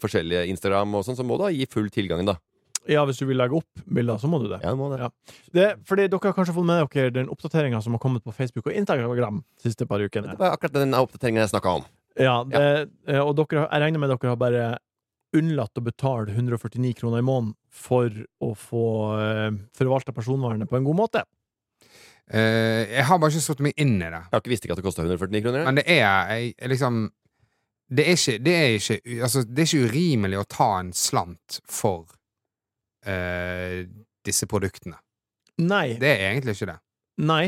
Speaker 2: forskjellige Instagram og sånn. Så må du da gi full tilgang, da.
Speaker 1: ja, hvis du vil legge opp bilder, så må du det.
Speaker 2: Ja, du må det.
Speaker 1: Ja. det fordi dere har kanskje fått med dere den oppdateringa som har kommet på Facebook og Instagram siste par ukene.
Speaker 2: Det var akkurat den oppdateringen jeg snakka om.
Speaker 1: Ja, det, eh, og dere, jeg regner med dere har bare unnlatt å betale 149 kroner i måneden for å få eh, forvalta personvernet på en god måte.
Speaker 3: Eh, jeg har bare ikke satt meg inn i det.
Speaker 2: Jeg har ikke visst ikke at det kosta 149 kroner.
Speaker 3: Men det er jeg, jeg liksom det er, ikke, det, er ikke, u- altså, det er ikke urimelig å ta en slant for eh, disse produktene.
Speaker 1: Nei.
Speaker 3: Det er egentlig ikke det.
Speaker 1: nei.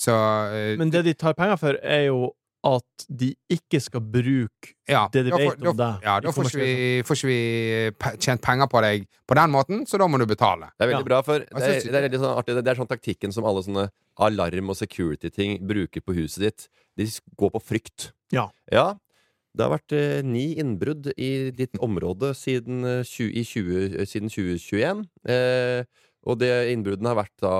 Speaker 3: Så eh,
Speaker 1: Men det de tar penger for, er jo at de ikke skal bruke
Speaker 3: ja,
Speaker 1: det de
Speaker 3: da får-
Speaker 1: vet om
Speaker 3: da,
Speaker 1: deg
Speaker 3: Ja,
Speaker 1: i
Speaker 3: da får ikke
Speaker 1: kommersielle-
Speaker 3: vi, får ikke vi eh, pe- tjent penger på deg på den måten, så da må du betale.
Speaker 2: Det er veldig
Speaker 1: Ja.
Speaker 2: bra, for det er,
Speaker 3: synes-
Speaker 2: det er veldig sånn artig. Det det er sånn taktikken som alle sånne alarm- og security-ting bruker på huset ditt. De s- går på frykt.
Speaker 1: Ja.
Speaker 2: Det har vært eh, ni innbrudd i ditt område siden, eh, 20, i 20, eh, siden 2021. Eh, og det innbruddene har vært da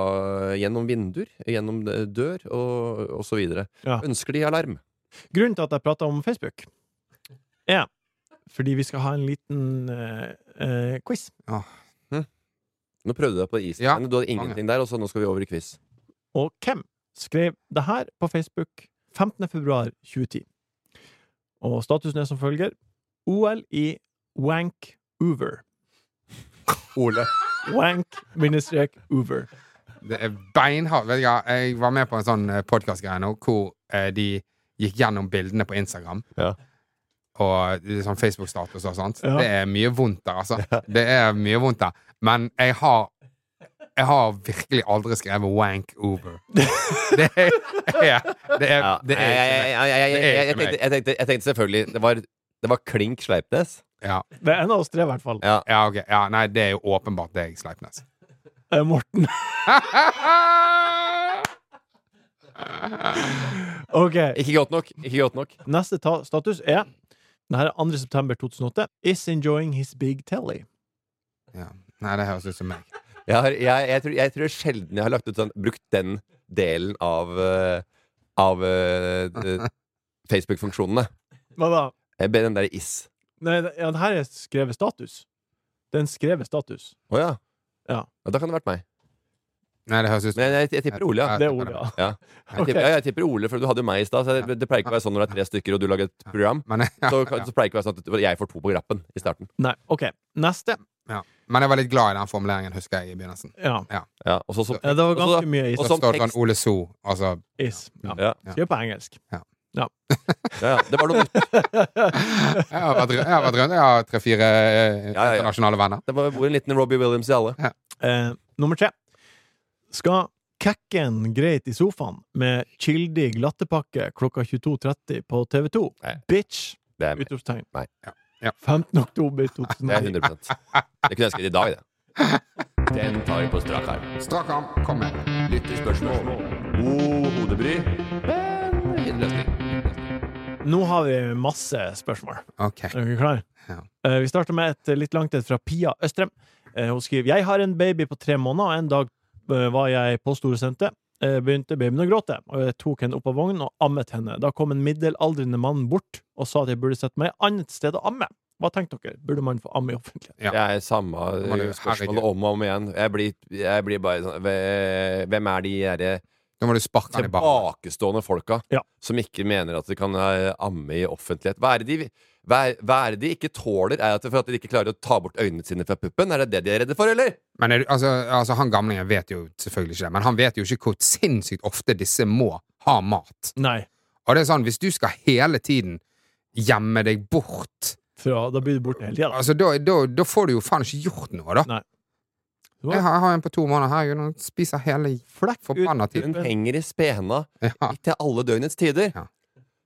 Speaker 2: gjennom vinduer, gjennom eh, dør og, og så videre.
Speaker 1: Ja.
Speaker 2: Ønsker de alarm?
Speaker 1: Grunnen til at jeg prater om Facebook, er fordi vi skal ha en liten eh, eh, quiz.
Speaker 2: Nå prøvde du deg på isen.
Speaker 3: Ja,
Speaker 2: men Du hadde ingenting der, og så nå skal vi over i quiz.
Speaker 1: Og hvem skrev det her på Facebook 15. februar 2010? Og statusen er som følger OL i Wank Over.
Speaker 3: Ole.
Speaker 1: Wank bindestrek over.
Speaker 3: Det er beinhardt. Vet du hva, jeg var med på en sånn podkast-greie nå hvor eh, de gikk gjennom bildene på Instagram.
Speaker 2: Ja.
Speaker 3: Og det er sånn Facebook-status og sånt.
Speaker 1: Ja.
Speaker 3: Det er mye vondt der, altså. Det er mye vondt der. Men jeg har jeg har virkelig aldri skrevet wank over. Det er, det er,
Speaker 2: Ja.
Speaker 3: det
Speaker 2: Jeg- jeg-
Speaker 3: er
Speaker 2: jeg- jeg- jeg-
Speaker 3: Det er
Speaker 2: jeg- jeg
Speaker 3: ikke meg.
Speaker 2: tenkte- jeg tenkte- Jeg tenkte selvfølgelig Det var, det var klink Sleipnes.
Speaker 3: Ja,
Speaker 1: Det er en av oss tre, i hvert fall.
Speaker 2: Ja.
Speaker 3: ja, ok. Ja, nei, det er jo åpenbart deg, Sleipnes.
Speaker 1: Eh, Morten. OK.
Speaker 2: Ikke godt nok. Ikke godt nok.
Speaker 1: Neste ta status er Den her er 2. september 2008. Is enjoying his big telly.
Speaker 3: Ja. Nei, det høres ut som meg.
Speaker 2: Jeg, har, jeg, jeg, tror, jeg tror sjelden jeg har lagt ut sånn brukt den delen av, eh, av eh, eh, Facebook-funksjonene.
Speaker 1: Hva da?
Speaker 2: Jeg ber den der is.
Speaker 1: Nei, det- ja, det her er skrevet status. Den skrevet status.
Speaker 2: Å ja.
Speaker 1: Ja.
Speaker 2: ja. Da kan det ha vært meg.
Speaker 3: Nei, det høres ut som
Speaker 2: Men jeg, jeg, jeg tipper Ole, ja.
Speaker 1: Det er ordet, ja.
Speaker 2: ja. Jeg,
Speaker 1: Ok.
Speaker 2: tipper, ja, jeg tipper Ole, for du hadde jo meg i stad. Så det, det pleier ikke å være sånn når det er tre stykker og du lager et program.
Speaker 3: Men,
Speaker 2: Så, kan- så pleier det ikke å være sånn at jeg får to på grappen i starten.
Speaker 1: Nei, OK. Neste.
Speaker 3: ja. Men jeg var litt glad i den formuleringen, husker jeg, i begynnelsen.
Speaker 1: Ja.
Speaker 2: Ja, og så, så,
Speaker 1: ja det var
Speaker 2: og så-
Speaker 1: ganske mye is.
Speaker 2: og
Speaker 3: Så
Speaker 2: som
Speaker 3: står det
Speaker 2: tekst-
Speaker 3: sånn Ole So, altså
Speaker 1: is. Ja.
Speaker 2: ja,
Speaker 1: Skriv på engelsk.
Speaker 2: ja, ja. Det var noe nytt.
Speaker 3: Jeg har vært, jeg har vært rundt, jeg har tre-fire eh,
Speaker 2: Ja, ja, ja.
Speaker 3: internasjonale venner.
Speaker 2: Det var en liten Robbie Williams i alle.
Speaker 1: Eh, nummer tre. Skal kekken greit i sofaen med kildig glattepakke klokka 22.30 på TV2?
Speaker 2: Nei.
Speaker 1: Bitch!
Speaker 2: Det er,
Speaker 1: Utropstegn.
Speaker 2: Nei.
Speaker 3: Ja.
Speaker 1: 15. oktober
Speaker 2: det er
Speaker 1: 2009.
Speaker 2: 100 Det kunne jeg ønsket i dag, det. Den tar vi på strak arm.
Speaker 3: Strak arm, kom med.
Speaker 2: Lyttespørsmål. God hodebry, men ingen løsning.
Speaker 1: Nå har vi masse spørsmål.
Speaker 3: Ok.
Speaker 1: Er dere klare?
Speaker 3: Ja.
Speaker 1: Eh, vi starter med et eh, litt langt et fra Pia Østrem. Eh, hun skriver Jeg har en baby på tre måneder, og en dag eh, var jeg på Storesenteret. Eh, begynte babyen å gråte, og jeg tok henne opp av vognen og ammet henne. Da kom en middelaldrende mann bort og sa at jeg burde sette meg et annet sted å amme. Hva tenkte dere? Burde man få amme i offentlighet?
Speaker 3: Ja.
Speaker 2: Det er samme
Speaker 3: Herregud.
Speaker 2: spørsmålet om og om igjen. Jeg blir, jeg blir bare sånn ve- Hvem er de derre
Speaker 3: Da må du sparke den i baren.
Speaker 2: tilbakestående folka
Speaker 1: Ja.
Speaker 2: som ikke mener at de kan eh, amme i offentlighet? Hva er det de, hva er, hva er det de ikke tåler? Er det for at de ikke klarer å ta bort øynene sine fra puppen? Er det det de er redde for, eller?
Speaker 3: Men er, du- altså, altså, han gamlingen vet jo selvfølgelig ikke det, men han vet jo ikke hvor sinnssykt ofte disse må ha mat.
Speaker 1: Nei.
Speaker 3: Og det er sånn, hvis du skal hele tiden gjemme deg bort,
Speaker 1: Fra, da blir du borte hele tida.
Speaker 3: altså, da, da, da får du jo faen ikke gjort noe, da.
Speaker 1: Nei. Du
Speaker 3: Jeg
Speaker 1: har
Speaker 3: har, jeg har en på to måneder her, hun spiser hele
Speaker 1: flekk ut
Speaker 3: forbanna tiden.
Speaker 2: Hun henger i spena
Speaker 3: Ja.
Speaker 2: til alle døgnets tider.
Speaker 3: Ja.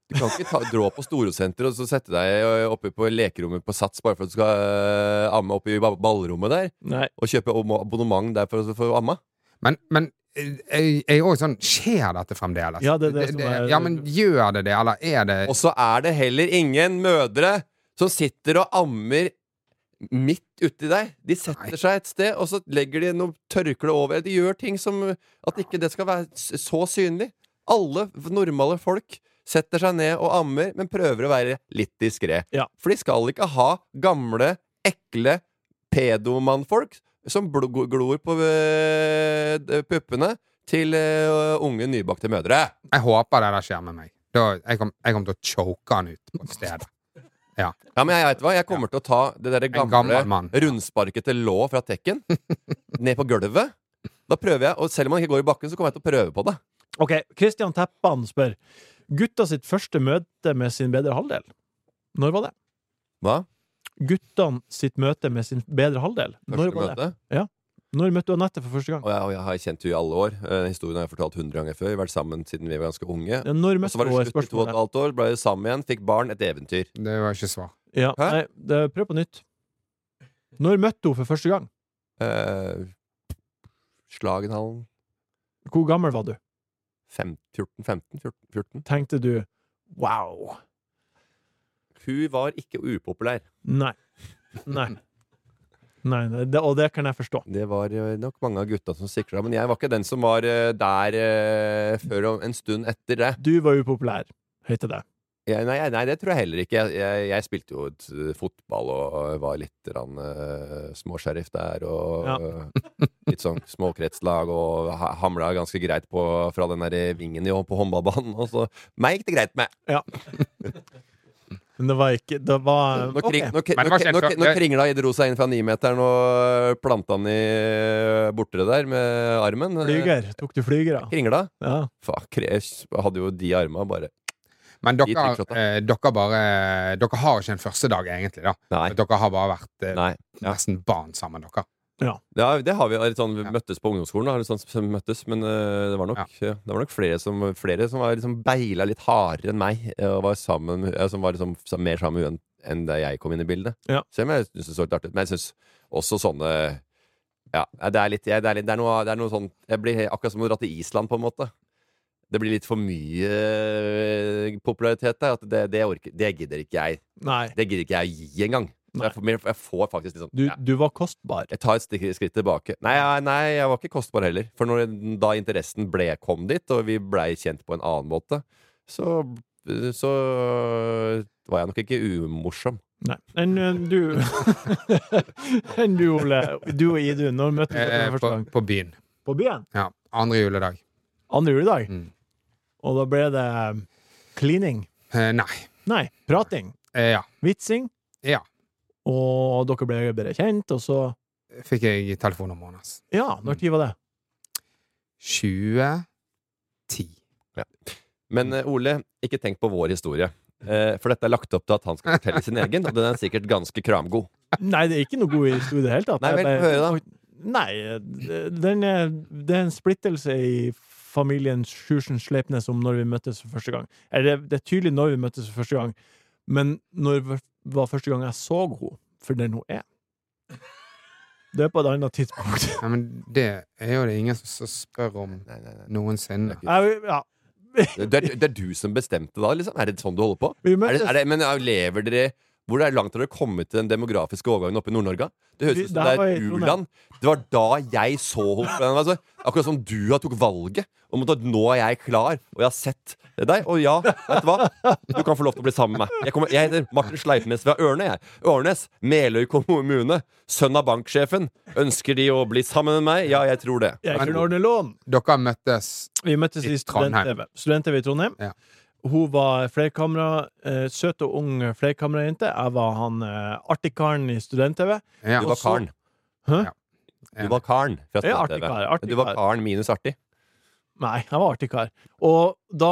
Speaker 2: Du kan ikke ta, dra på Storosenteret og så sette deg ø, oppe på lekerommet på Sats bare for at du skal ø, amme oppe i ba- ballrommet der,
Speaker 1: Nei.
Speaker 2: og kjøpe om- abonnement der for å få amme.
Speaker 3: Men, men eh, jeg jeg er òg sånn Skjer dette fremdeles?
Speaker 1: Ja, det er det som er-
Speaker 3: ja, men gjør det det, eller er det
Speaker 2: Og så er det heller ingen mødre som sitter og ammer midt uti deg. De setter
Speaker 3: Nei.
Speaker 2: seg et sted, og så legger de noe tørkle over. De gjør ting som at ikke det skal være s- så synlig. Alle f- normale folk setter seg ned og ammer, men prøver å være litt diskré.
Speaker 1: Ja.
Speaker 2: For de skal ikke ha gamle, ekle pedomannfolk som bl glor på øh, d- puppene til øh, unge, nybakte mødre.
Speaker 3: Jeg håper det der skjer med meg. Da, jeg kommer kom til å choke han ut på et sted. Ja.
Speaker 2: Ja, men jeg vet hva, jeg kommer til å ta det der gamle
Speaker 3: gammel mann.
Speaker 2: rundsparkete lå fra tekken ned på gulvet. Da prøver jeg, og selv om han ikke går i bakken, så kommer jeg til å prøve på det.
Speaker 1: Ok, Kristian Teppan spør Gutta sitt første møte med sin bedre halvdel. Når var det?
Speaker 2: Hva?
Speaker 1: Guttene sitt møte med sin bedre halvdel. Når
Speaker 2: Første
Speaker 1: var det?
Speaker 2: møte?
Speaker 1: Når møtte du Anette for første gang?
Speaker 2: Og jeg, og jeg har kjent henne i alle år. Eh, historien har jeg fortalt hundre ganger før. Vi har vært sammen siden vi var ganske unge.
Speaker 1: Ja, når
Speaker 2: Og så
Speaker 1: møtte
Speaker 2: var
Speaker 1: hun
Speaker 2: det
Speaker 1: er
Speaker 2: slutt i to og et
Speaker 1: spørsmålet?
Speaker 2: halvt år, ble vi sammen igjen, fikk barn, et eventyr.
Speaker 3: Det var ikke svar.
Speaker 1: Ja,
Speaker 2: Hæ?
Speaker 1: nei, det, prøv på nytt. Når møtte hun for første gang?
Speaker 2: Eh, Slagenhallen
Speaker 1: Hvor gammel var du?
Speaker 2: 14-15? 14?
Speaker 1: Tenkte du wow?
Speaker 2: Hun var ikke upopulær.
Speaker 1: Nei. Nei. nei, nei det, og det kan jeg forstå.
Speaker 2: Det var eh, nok mange av gutta som sikla, men jeg var ikke den som var eh, der eh, før om- en stund etter det.
Speaker 1: Du var upopulær, heter det.
Speaker 2: Jeg, nei, nei, det tror jeg heller ikke. Jeg, jeg, jeg spilte jo et, eh, fotball og, og var litt grann, eh, småsheriff der, og
Speaker 1: Ja.
Speaker 2: eh, litt sånn småkretslag, og ha, hamla ganske greit på, fra den der vingen i, på håndballbanen. Og så meg gikk det greit med.
Speaker 1: Men det var ikke Det var
Speaker 2: Når, kring,
Speaker 1: ok.
Speaker 2: når,
Speaker 3: Men det var
Speaker 2: når,
Speaker 3: kjent
Speaker 2: når,
Speaker 3: før.
Speaker 2: når kringla dro seg inn fra nimeteren og planta den i eh, bortre der med armen eh,
Speaker 1: Flyger. Tok du flygere?
Speaker 2: Kringla.
Speaker 1: Ja.
Speaker 2: Fuck, jeg hadde jo de arma bare
Speaker 3: Men
Speaker 2: Gi
Speaker 3: dere,
Speaker 2: trickshot, da.
Speaker 3: eh, dere bare Dere har ikke en første dag, egentlig. da
Speaker 2: Nei.
Speaker 3: For Dere har bare vært eh,
Speaker 2: Nei. Ja.
Speaker 3: nesten barn sammen, dere.
Speaker 1: Ja.
Speaker 2: Det, har- det har vi, litt sånn, vi møttes på ungdomsskolen, da, litt sånn, som møttes, men eh, det var nok, ja. det var nok flere, som, flere som var liksom beila litt hardere enn meg, eh, og var sammen, eh, som var liksom, sa- mer sammen med henne enn da jeg kom inn i bildet.
Speaker 1: Ja.
Speaker 2: Selv om jeg synes det så litt artig ut. Men jeg synes også sånne ja, det er litt, jeg- det er litt det er noe, det er noe sånn Jeg blir akkurat som å dra til Island, på en måte. Det blir litt for mye eh, popularitet der. At det, det, orker, det gidder ikke jeg
Speaker 1: Nei.
Speaker 2: Det gidder ikke jeg å gi engang. Så
Speaker 1: Nei.
Speaker 2: Jeg, får- men jeg får faktisk litt sånn
Speaker 1: Du,
Speaker 2: ja.
Speaker 1: du var kostbar.
Speaker 2: Jeg tar et stikk- skritt tilbake. Nei, ja, nei, jeg var ikke kostbar heller. For når, da interessen ble, kom dit, og vi blei kjent på en annen måte, så, så var jeg nok ikke umorsom.
Speaker 1: Nei. Enn eh, du Enn du, Ole. Du og Idun, når møttes dere
Speaker 3: Eh,
Speaker 1: første
Speaker 3: på,
Speaker 1: gang?
Speaker 3: på byen.
Speaker 1: På byen?
Speaker 3: Ja. Andre juledag.
Speaker 1: Andre juledag?
Speaker 3: Mm.
Speaker 1: Og da ble det eh, cleaning.
Speaker 3: Eh, nei.
Speaker 1: Nei, prating.
Speaker 3: Eh, ja.
Speaker 1: Vitsing.
Speaker 3: Ja.
Speaker 1: Og dere ble bedre kjent, og så
Speaker 3: Fikk jeg telefonnummeret hans.
Speaker 1: Ja, når tid var det?
Speaker 3: 2010.
Speaker 2: Men eh, Ole, ikke tenk på vår historie. Eh, for dette er lagt opp til at han skal fortelle sin egen, og den er sikkert ganske kramgod.
Speaker 1: Nei, det er ikke noe god historie i det hele tatt.
Speaker 2: Nei vel,
Speaker 1: Jeg
Speaker 2: få høre da.
Speaker 1: Nei, det- den er, det er en splittelse i familien Sjursen Sleipnes om når vi møttes for første gang. Eller det, det er tydelig når vi møttes for første gang, men når v- var første gang jeg så henne for den hun er? Det er på et annet tidspunkt.
Speaker 3: Ja, men det er jo det ingen som s- spør om
Speaker 2: Nei, nei, nei.
Speaker 3: noensinne.
Speaker 1: Jeg, ja.
Speaker 2: Det, er, det er du som bestemte da, liksom? Er det sånn du holder på?
Speaker 1: Vi
Speaker 2: Er
Speaker 1: møttes
Speaker 2: det, er det, men ja, lever dere hvor er det langt har dere kommet til den demografiske overgangen oppe i Nord-Norge? Det høres
Speaker 1: Vi-
Speaker 2: ut
Speaker 1: det
Speaker 2: som
Speaker 1: her
Speaker 2: det er
Speaker 1: var i
Speaker 2: et
Speaker 1: Trondheim.
Speaker 2: u-land. Det var da jeg så henne. Altså, akkurat som du har tok valget om at nå er jeg klar, og jeg har sett deg. Og ja, vet du hva? Du kan få lov til å bli sammen med meg. Jeg, kommer, jeg heter Martin Sleipnes fra Ørne. jeg. Ørnes, Meløy kommune. Sønn av banksjefen. Ønsker de å bli sammen med meg? Ja, jeg tror det.
Speaker 1: Jeg kunne ordne lån.
Speaker 3: Dere møttes
Speaker 1: Vi møttes i
Speaker 3: I Trondheim.
Speaker 1: Student-TV Student-TV i Trondheim.
Speaker 3: Ja.
Speaker 1: Hun var flerkamera, eh, søt og ung flerkamerajente. Jeg var han eh, artig karen i Student-TV.
Speaker 3: ja.
Speaker 2: Du var karen.
Speaker 1: Hæ?
Speaker 2: Du var karen fra
Speaker 1: Ja, artig
Speaker 2: Stad-TV.
Speaker 1: kar, artig
Speaker 2: Du var
Speaker 1: kar.
Speaker 2: karen minus artig.
Speaker 1: Nei, jeg var artig kar. Og da,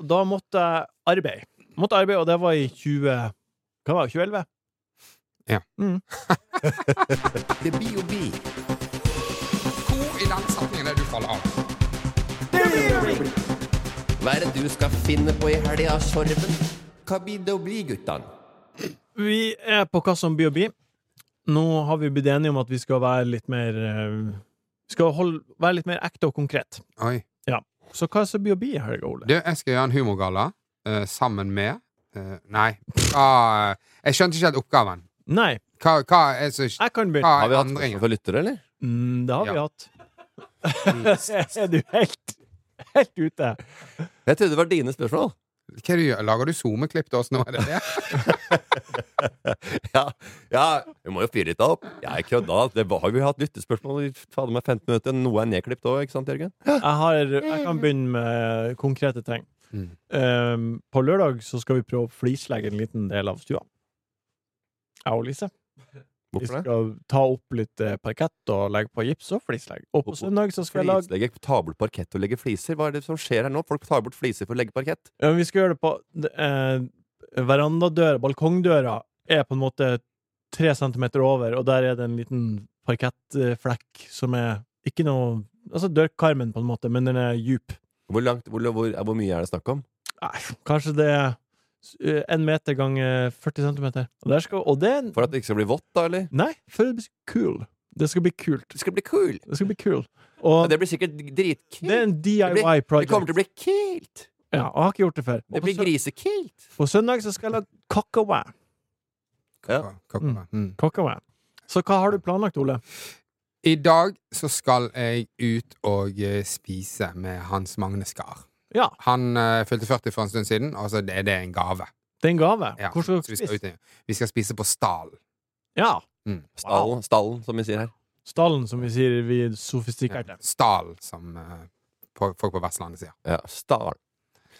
Speaker 1: da måtte jeg arbeide. Måtte arbeide, og det var i 20... Hva var det? 2011?
Speaker 3: Hvor i den setningen er det du faller av?
Speaker 2: Hva er det du skal finne på i helga, Sorven? Hva blir det å bli, guttene?
Speaker 1: Vi er på hva som by og by. Nå har vi blitt enige om at vi skal være litt mer eh, Skal holde, være litt mer ekte og konkret.
Speaker 3: Oi.
Speaker 1: Så hva er så by og by i helga, Ole?
Speaker 3: Du, jeg skal gjøre en humorgalla eh, sammen med eh, Nei. Ah, jeg skjønte ikke helt oppgaven.
Speaker 1: Nei,
Speaker 3: Hva, hva er så
Speaker 1: jeg kan begynne.
Speaker 3: hva
Speaker 2: Har
Speaker 3: er
Speaker 2: vi hatt spørsmål
Speaker 3: endringen?
Speaker 2: fra lyttere, eller?
Speaker 1: Mm, det har vi
Speaker 3: Ja.
Speaker 1: hatt. er du helt, helt ute?
Speaker 2: Jeg trodde det var dine spørsmål.
Speaker 3: Hva er det du gjør? Lager du SoMe-klipp til oss nå? Er det det?
Speaker 2: Ja, ja, vi må jo fyre litt opp. Jeg kødda. Det var, har vi hatt lyttespørsmål i fader meg 15 minutter. Noe er nedklipt òg, ikke sant, Jørgen?
Speaker 1: Jeg, har, jeg kan begynne med konkrete ting.
Speaker 3: Mm.
Speaker 1: Um, på lørdag så skal vi prøve å flislegge en liten del av stua. Jeg og Lise. Vi
Speaker 2: Hvorfor det?
Speaker 1: skal ta opp litt eh, parkett og legge på gips og flislegge. Og på
Speaker 2: Hvorfor?
Speaker 1: søndag så skal jeg lage
Speaker 2: Flislegge, ta bort parkett og legge fliser? Hva er det som skjer her nå? Folk tar bort fliser for å legge parkett.
Speaker 1: Ja, men Vi skal gjøre det på eh, Verandadøra, balkongdøra, er på en måte tre centimeter over, og der er det en liten parkettflekk som er ikke noe Altså dørkarmen, på en måte, men den er djup.
Speaker 2: Hvor, langt, hvor, hvor, hvor mye er det snakk om?
Speaker 1: Nei, kanskje det er eh, en meter ganger 40 centimeter. Og, der skal, og det er en-
Speaker 2: For at det ikke skal bli vått, da, eller?
Speaker 1: Nei, for det blir cool. Det skal bli kult.
Speaker 2: Det skal bli cool.
Speaker 1: Det skal bli cool.
Speaker 2: Ja,
Speaker 1: Og det,
Speaker 2: Det blir sikkert dritkult.
Speaker 1: er en
Speaker 2: Det
Speaker 1: DIy
Speaker 2: blir- Det
Speaker 1: project.
Speaker 2: kommer til å bli kult.
Speaker 1: Ja, og jeg har ikke gjort det før.
Speaker 2: Det
Speaker 1: Og på,
Speaker 2: blir
Speaker 1: sø
Speaker 2: grisekult.
Speaker 1: på søndag så skal jeg lage kakao.
Speaker 2: Ja.
Speaker 3: Hva- hva- Mm.
Speaker 1: Kakao. Så hva har du planlagt, Ole?
Speaker 3: I dag så skal jeg ut og eh, spise med Hans Magne Skar.
Speaker 1: Ja.
Speaker 3: Han eh, fylte 40 for en stund siden, og så er det, det er en gave.
Speaker 1: Det er en gave.
Speaker 3: Ja,
Speaker 1: Hvor skal
Speaker 3: så
Speaker 1: dere
Speaker 3: vi, skal
Speaker 1: spise?
Speaker 3: ut, i- vi skal spise på Mm. Stalen.
Speaker 1: Ja.
Speaker 2: Stallen, stallen, som vi sier her.
Speaker 1: Stallen, som vi sier vi sofistikerte.
Speaker 3: Stal, som eh, på, folk på Vestlandet sier.
Speaker 2: Ja, stallen.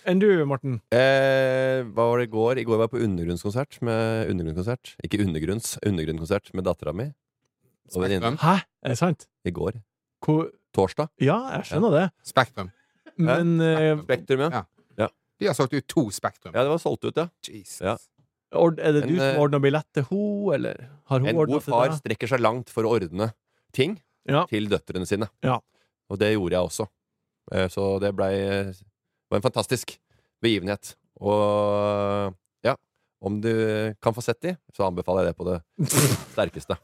Speaker 1: Enn du, Morten?
Speaker 2: Eh, hva var det i går? I går var jeg på undergrunnskonsert med undergrunnskonsert. Ikke undergrunns, undergrunnkonsert med dattera mi. Og venninnen.
Speaker 3: Spektrum.
Speaker 1: Hæ? Er det sant?
Speaker 2: I går.
Speaker 1: Hvor...
Speaker 2: Torsdag.
Speaker 1: Ja, jeg skjønner det.
Speaker 3: Spektrum.
Speaker 1: Men eh,
Speaker 2: Spektrum, ja.
Speaker 3: Ja. De har solgt ut to Spektrum.
Speaker 2: Ja, det var solgt ut, ja.
Speaker 3: Jesus.
Speaker 2: Ja.
Speaker 1: ord- er det du
Speaker 2: En, eh,
Speaker 1: som ordner billett til henne, eller har
Speaker 2: En
Speaker 1: hun
Speaker 2: god
Speaker 1: ordna til
Speaker 2: far
Speaker 1: deg?
Speaker 2: strekker seg langt for å ordne ting
Speaker 1: Ja.
Speaker 2: til døtrene sine.
Speaker 1: Ja.
Speaker 2: Og det gjorde jeg også. Eh, Så det blei eh, var en fantastisk begivenhet. Og ja, om du kan få sett de, så anbefaler jeg det på det sterkeste.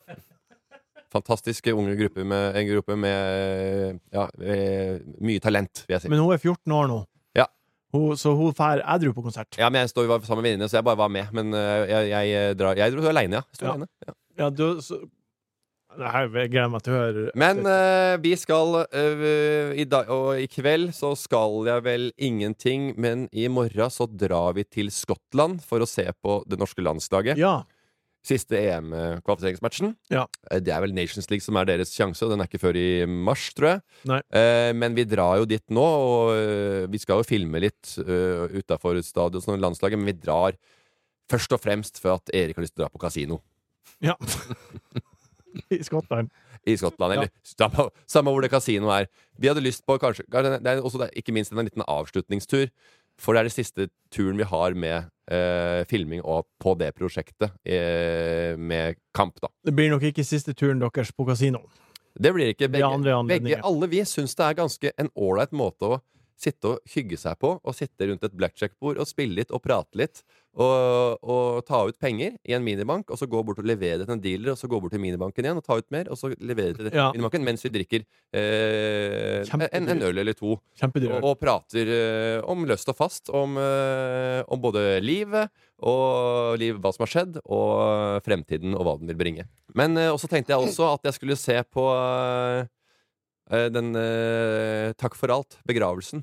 Speaker 2: Fantastisk unge gruppe med, en gruppe med ja, eh, mye talent, vil jeg si.
Speaker 1: Men hun er 14 år nå,
Speaker 2: Ja.
Speaker 1: hun, så hun drar edru på konsert.
Speaker 2: Ja, men jeg står, var sammen med venninne, så jeg bare var med. Men eh, jeg, jeg, eh, drar, jeg dro aleine, ja. Jeg sto
Speaker 1: Ja.
Speaker 2: alene. ja.
Speaker 1: Ja, du, så... Det her jeg gleder meg til å høre.
Speaker 2: Men eh, vi skal eh, i dag, Og i kveld så skal jeg vel ingenting, men i morgen så drar vi til Skottland for å se på det norske landslaget.
Speaker 1: Ja.
Speaker 2: Siste EM-kvalifiseringsmatchen.
Speaker 1: Ja.
Speaker 2: Eh, Det er vel Nations League som er deres sjanse, og den er ikke før i mars, tror jeg.
Speaker 1: Nei.
Speaker 2: Eh, men vi drar jo dit nå, og eh, vi skal jo filme litt uh, utafor stadion som landslaget, men vi drar først og fremst for at Erik har lyst til å dra på kasino.
Speaker 1: ja. I Skottland.
Speaker 2: i Skottland, eller samme, samme hvor det kasino er. Vi hadde lyst på kanskje Det er også det, ikke minst en liten avslutningstur. For det er det siste turen vi har med eh, filming og på det prosjektet eh, med kamp, da.
Speaker 1: Det blir nok ikke siste turen deres på kasino.
Speaker 2: Det blir ikke
Speaker 1: Det blir
Speaker 2: begge.
Speaker 1: andre anledninger.
Speaker 2: begge alle vi syns det er ganske en ålreit måte å sitte og hygge seg på. Og sitte rundt et blackjack-bord og spille litt og prate litt. Og, og ta ut penger i en minibank, og så gå bort og levere det til en dealer, og så gå bort til minibanken igjen og ta ut mer, og så levere det til
Speaker 1: Ja.
Speaker 2: minibanken mens vi drikker eh,
Speaker 1: Kjempedyrt.
Speaker 2: en, en øl eller to.
Speaker 1: Kjempedyr.
Speaker 2: Og, og prater eh, om løst og fast, om, eh, om både livet og liv, hva som har skjedd, og eh, fremtiden og hva den vil bringe. Men eh, også tenkte jeg også at jeg skulle se på eh, eh, den eh, Takk for alt, begravelsen.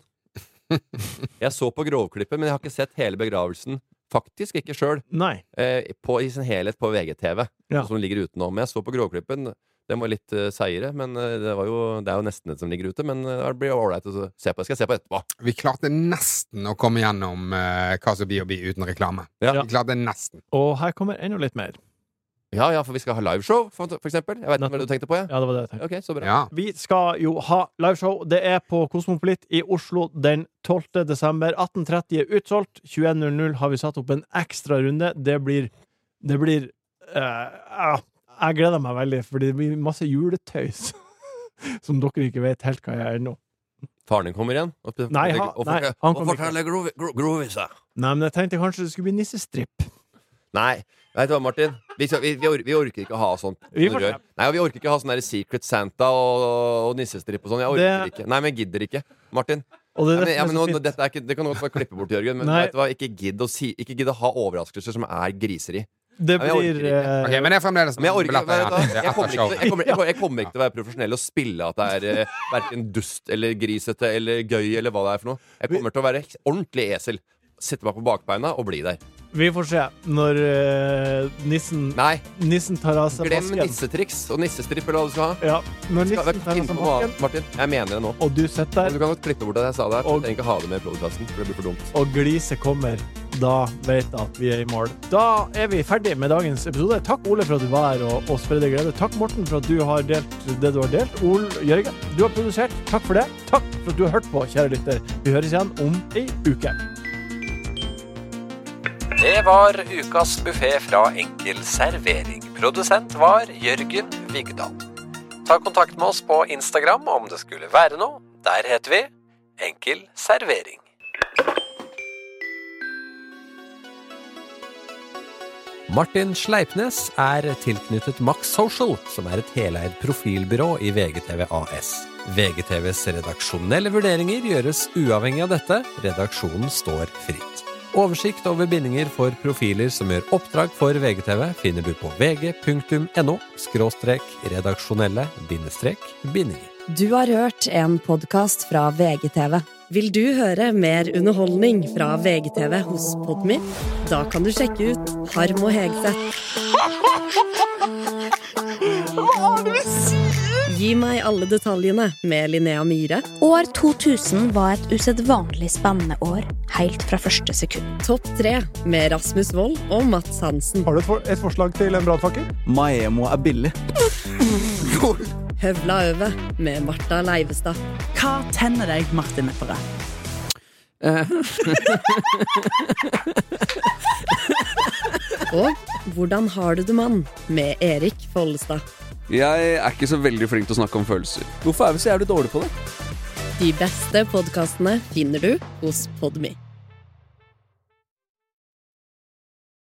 Speaker 2: Jeg så på grovklippet, men jeg har ikke sett hele begravelsen. Faktisk ikke sjøl,
Speaker 1: Nei.
Speaker 2: eh, på- i sin helhet på VGTV,
Speaker 1: Ja.
Speaker 2: som ligger utenom. Jeg så på grovklippen. Den var litt eh, seigere, men eh, det, var jo, det er jo nesten det som ligger ute. Men eh, det blir ålreit å se på. Jeg skal se på etterpå.
Speaker 3: Vi klarte nesten å komme gjennom eh, hva som blir å bli uten reklame.
Speaker 2: Ja.
Speaker 3: Vi klarte nesten.
Speaker 1: Og her kommer enda litt mer.
Speaker 2: Ja, ja, for vi skal ha liveshow, for, for eksempel. Jeg vet ikke hva du tenkte på, ja.
Speaker 1: Ja, det var det jeg tenkte.
Speaker 2: Ok, så bra.
Speaker 3: Ja.
Speaker 1: Vi skal jo ha liveshow. Det er på Kosmopolit i Oslo den 12. desember. 18.30 er utsolgt. 21.00 har vi satt opp en ekstra runde. Det blir Det blir eh, ah, Jeg gleder meg veldig, for det blir masse juletøys. Som dere ikke vet helt hva jeg er ennå.
Speaker 2: Faren din kommer igjen? Og,
Speaker 1: Nei, han-
Speaker 2: og,
Speaker 1: nei, han kommer ikke.
Speaker 2: ikke.
Speaker 1: Nei, men jeg tenkte kanskje det skulle bli nissestripp.
Speaker 2: Nei, vet du hva, Martin? Vi, skal, vi, vi, or vi orker ikke å ha sånt.
Speaker 1: Vi får
Speaker 2: rør.
Speaker 1: se.
Speaker 2: Nei, og vi orker ikke å ha sånn der Secret Santa og, og nissestripp og sånn. Jeg orker
Speaker 1: Det-
Speaker 2: ikke. Nei, men jeg gidder ikke. Martin.
Speaker 1: Og det
Speaker 2: Nei,
Speaker 1: er
Speaker 2: men,
Speaker 1: det
Speaker 2: ja,
Speaker 1: som
Speaker 2: men
Speaker 1: er
Speaker 2: nå,
Speaker 1: så fint.
Speaker 2: dette er ikke, det kan du godt bare klippe bort, Jørgen. Men
Speaker 1: Nei.
Speaker 2: vet du hva, ikke gidd å, si, ikke gidd å ha overraskelser som er griseri.
Speaker 1: Det
Speaker 2: Nei, men jeg
Speaker 1: blir
Speaker 2: orker ikke.
Speaker 1: eh,
Speaker 3: Ok, men det er fremdeles
Speaker 2: Men jeg orker ikke, vet du hva?
Speaker 3: igjen. Det er
Speaker 2: jeg
Speaker 3: altså
Speaker 2: kommer
Speaker 3: etter
Speaker 2: ikke, til-
Speaker 3: showet.
Speaker 2: jeg kommer, jeg, kommer, jeg kommer ikke til å være profesjonell og spille at det er eh, hverken dust eller grisete eller gøy eller hva det er for noe. Jeg kommer til å være ordentlig esel. Sette meg på bakbeina og bli der.
Speaker 1: Vi får se når eh, nissen
Speaker 2: Nei,
Speaker 1: Nissen tar av seg
Speaker 2: glem
Speaker 1: masken.
Speaker 2: nissetriks og nissestripp eller hva du skal ha.
Speaker 1: Ja, når
Speaker 2: Skal,
Speaker 1: nissen tar av
Speaker 2: finn
Speaker 1: seg
Speaker 2: på noe
Speaker 1: masken,
Speaker 2: annet, Martin, jeg mener det nå.
Speaker 1: og du sitter der
Speaker 2: Men du kan godt klippe bort at jeg sa det. her, for
Speaker 1: Og-
Speaker 2: Jeg trenger ikke ha det med i podcasten, for det blir for dumt.
Speaker 1: og gliset kommer, da vet jeg at vi er i mål. Da er vi ferdig med dagens episode. Takk, Ole, for at du var her og, og spredde glede. Takk, Morten, for at du har delt det du har delt. Ole Jørgen, du har produsert. Takk for det. Takk for at du har hørt på, kjære lytter. Vi høres igjen om ei uke.
Speaker 5: Det var ukas buffé fra Enkel servering. Produsent var Jørgen Vigdal. Ta kontakt med oss på Instagram om det skulle være noe. Der heter vi Enkel servering. Martin Sleipnes er tilknyttet Max Social, som er et heleid profilbyrå i VGTV AS. VGTVs redaksjonelle vurderinger gjøres uavhengig av dette. Redaksjonen står fritt. Oversikt over bindinger for profiler som gjør oppdrag for VGTV, finner du på vg.no – redaksjonelle – bindinger.
Speaker 6: Du har hørt en podkast fra VGTV. Vil du høre mer underholdning fra VGTV hos Podmy? Da kan du sjekke ut Harm og Hegseth. Gi meg alle detaljene med Linnea Myhre.
Speaker 7: År 2000 var et usedvanlig spennende år, helt fra første sekund.
Speaker 6: Topp tre med Rasmus Wold og Mats Hansen.
Speaker 1: Har du et, forslag til en brannfakkel?
Speaker 8: Maemo er billig.
Speaker 6: Høvla over med Marta Leivestad.
Speaker 9: Hva tenner deg, Martin Lepperød?
Speaker 6: Eh. Og Hvordan har du det, mann? med Erik Follestad.
Speaker 2: Jeg er ikke så veldig flink til å snakke om følelser. Hvorfor er vi så jævlig dårlige på det?
Speaker 6: De beste podkastene finner du hos Podmy.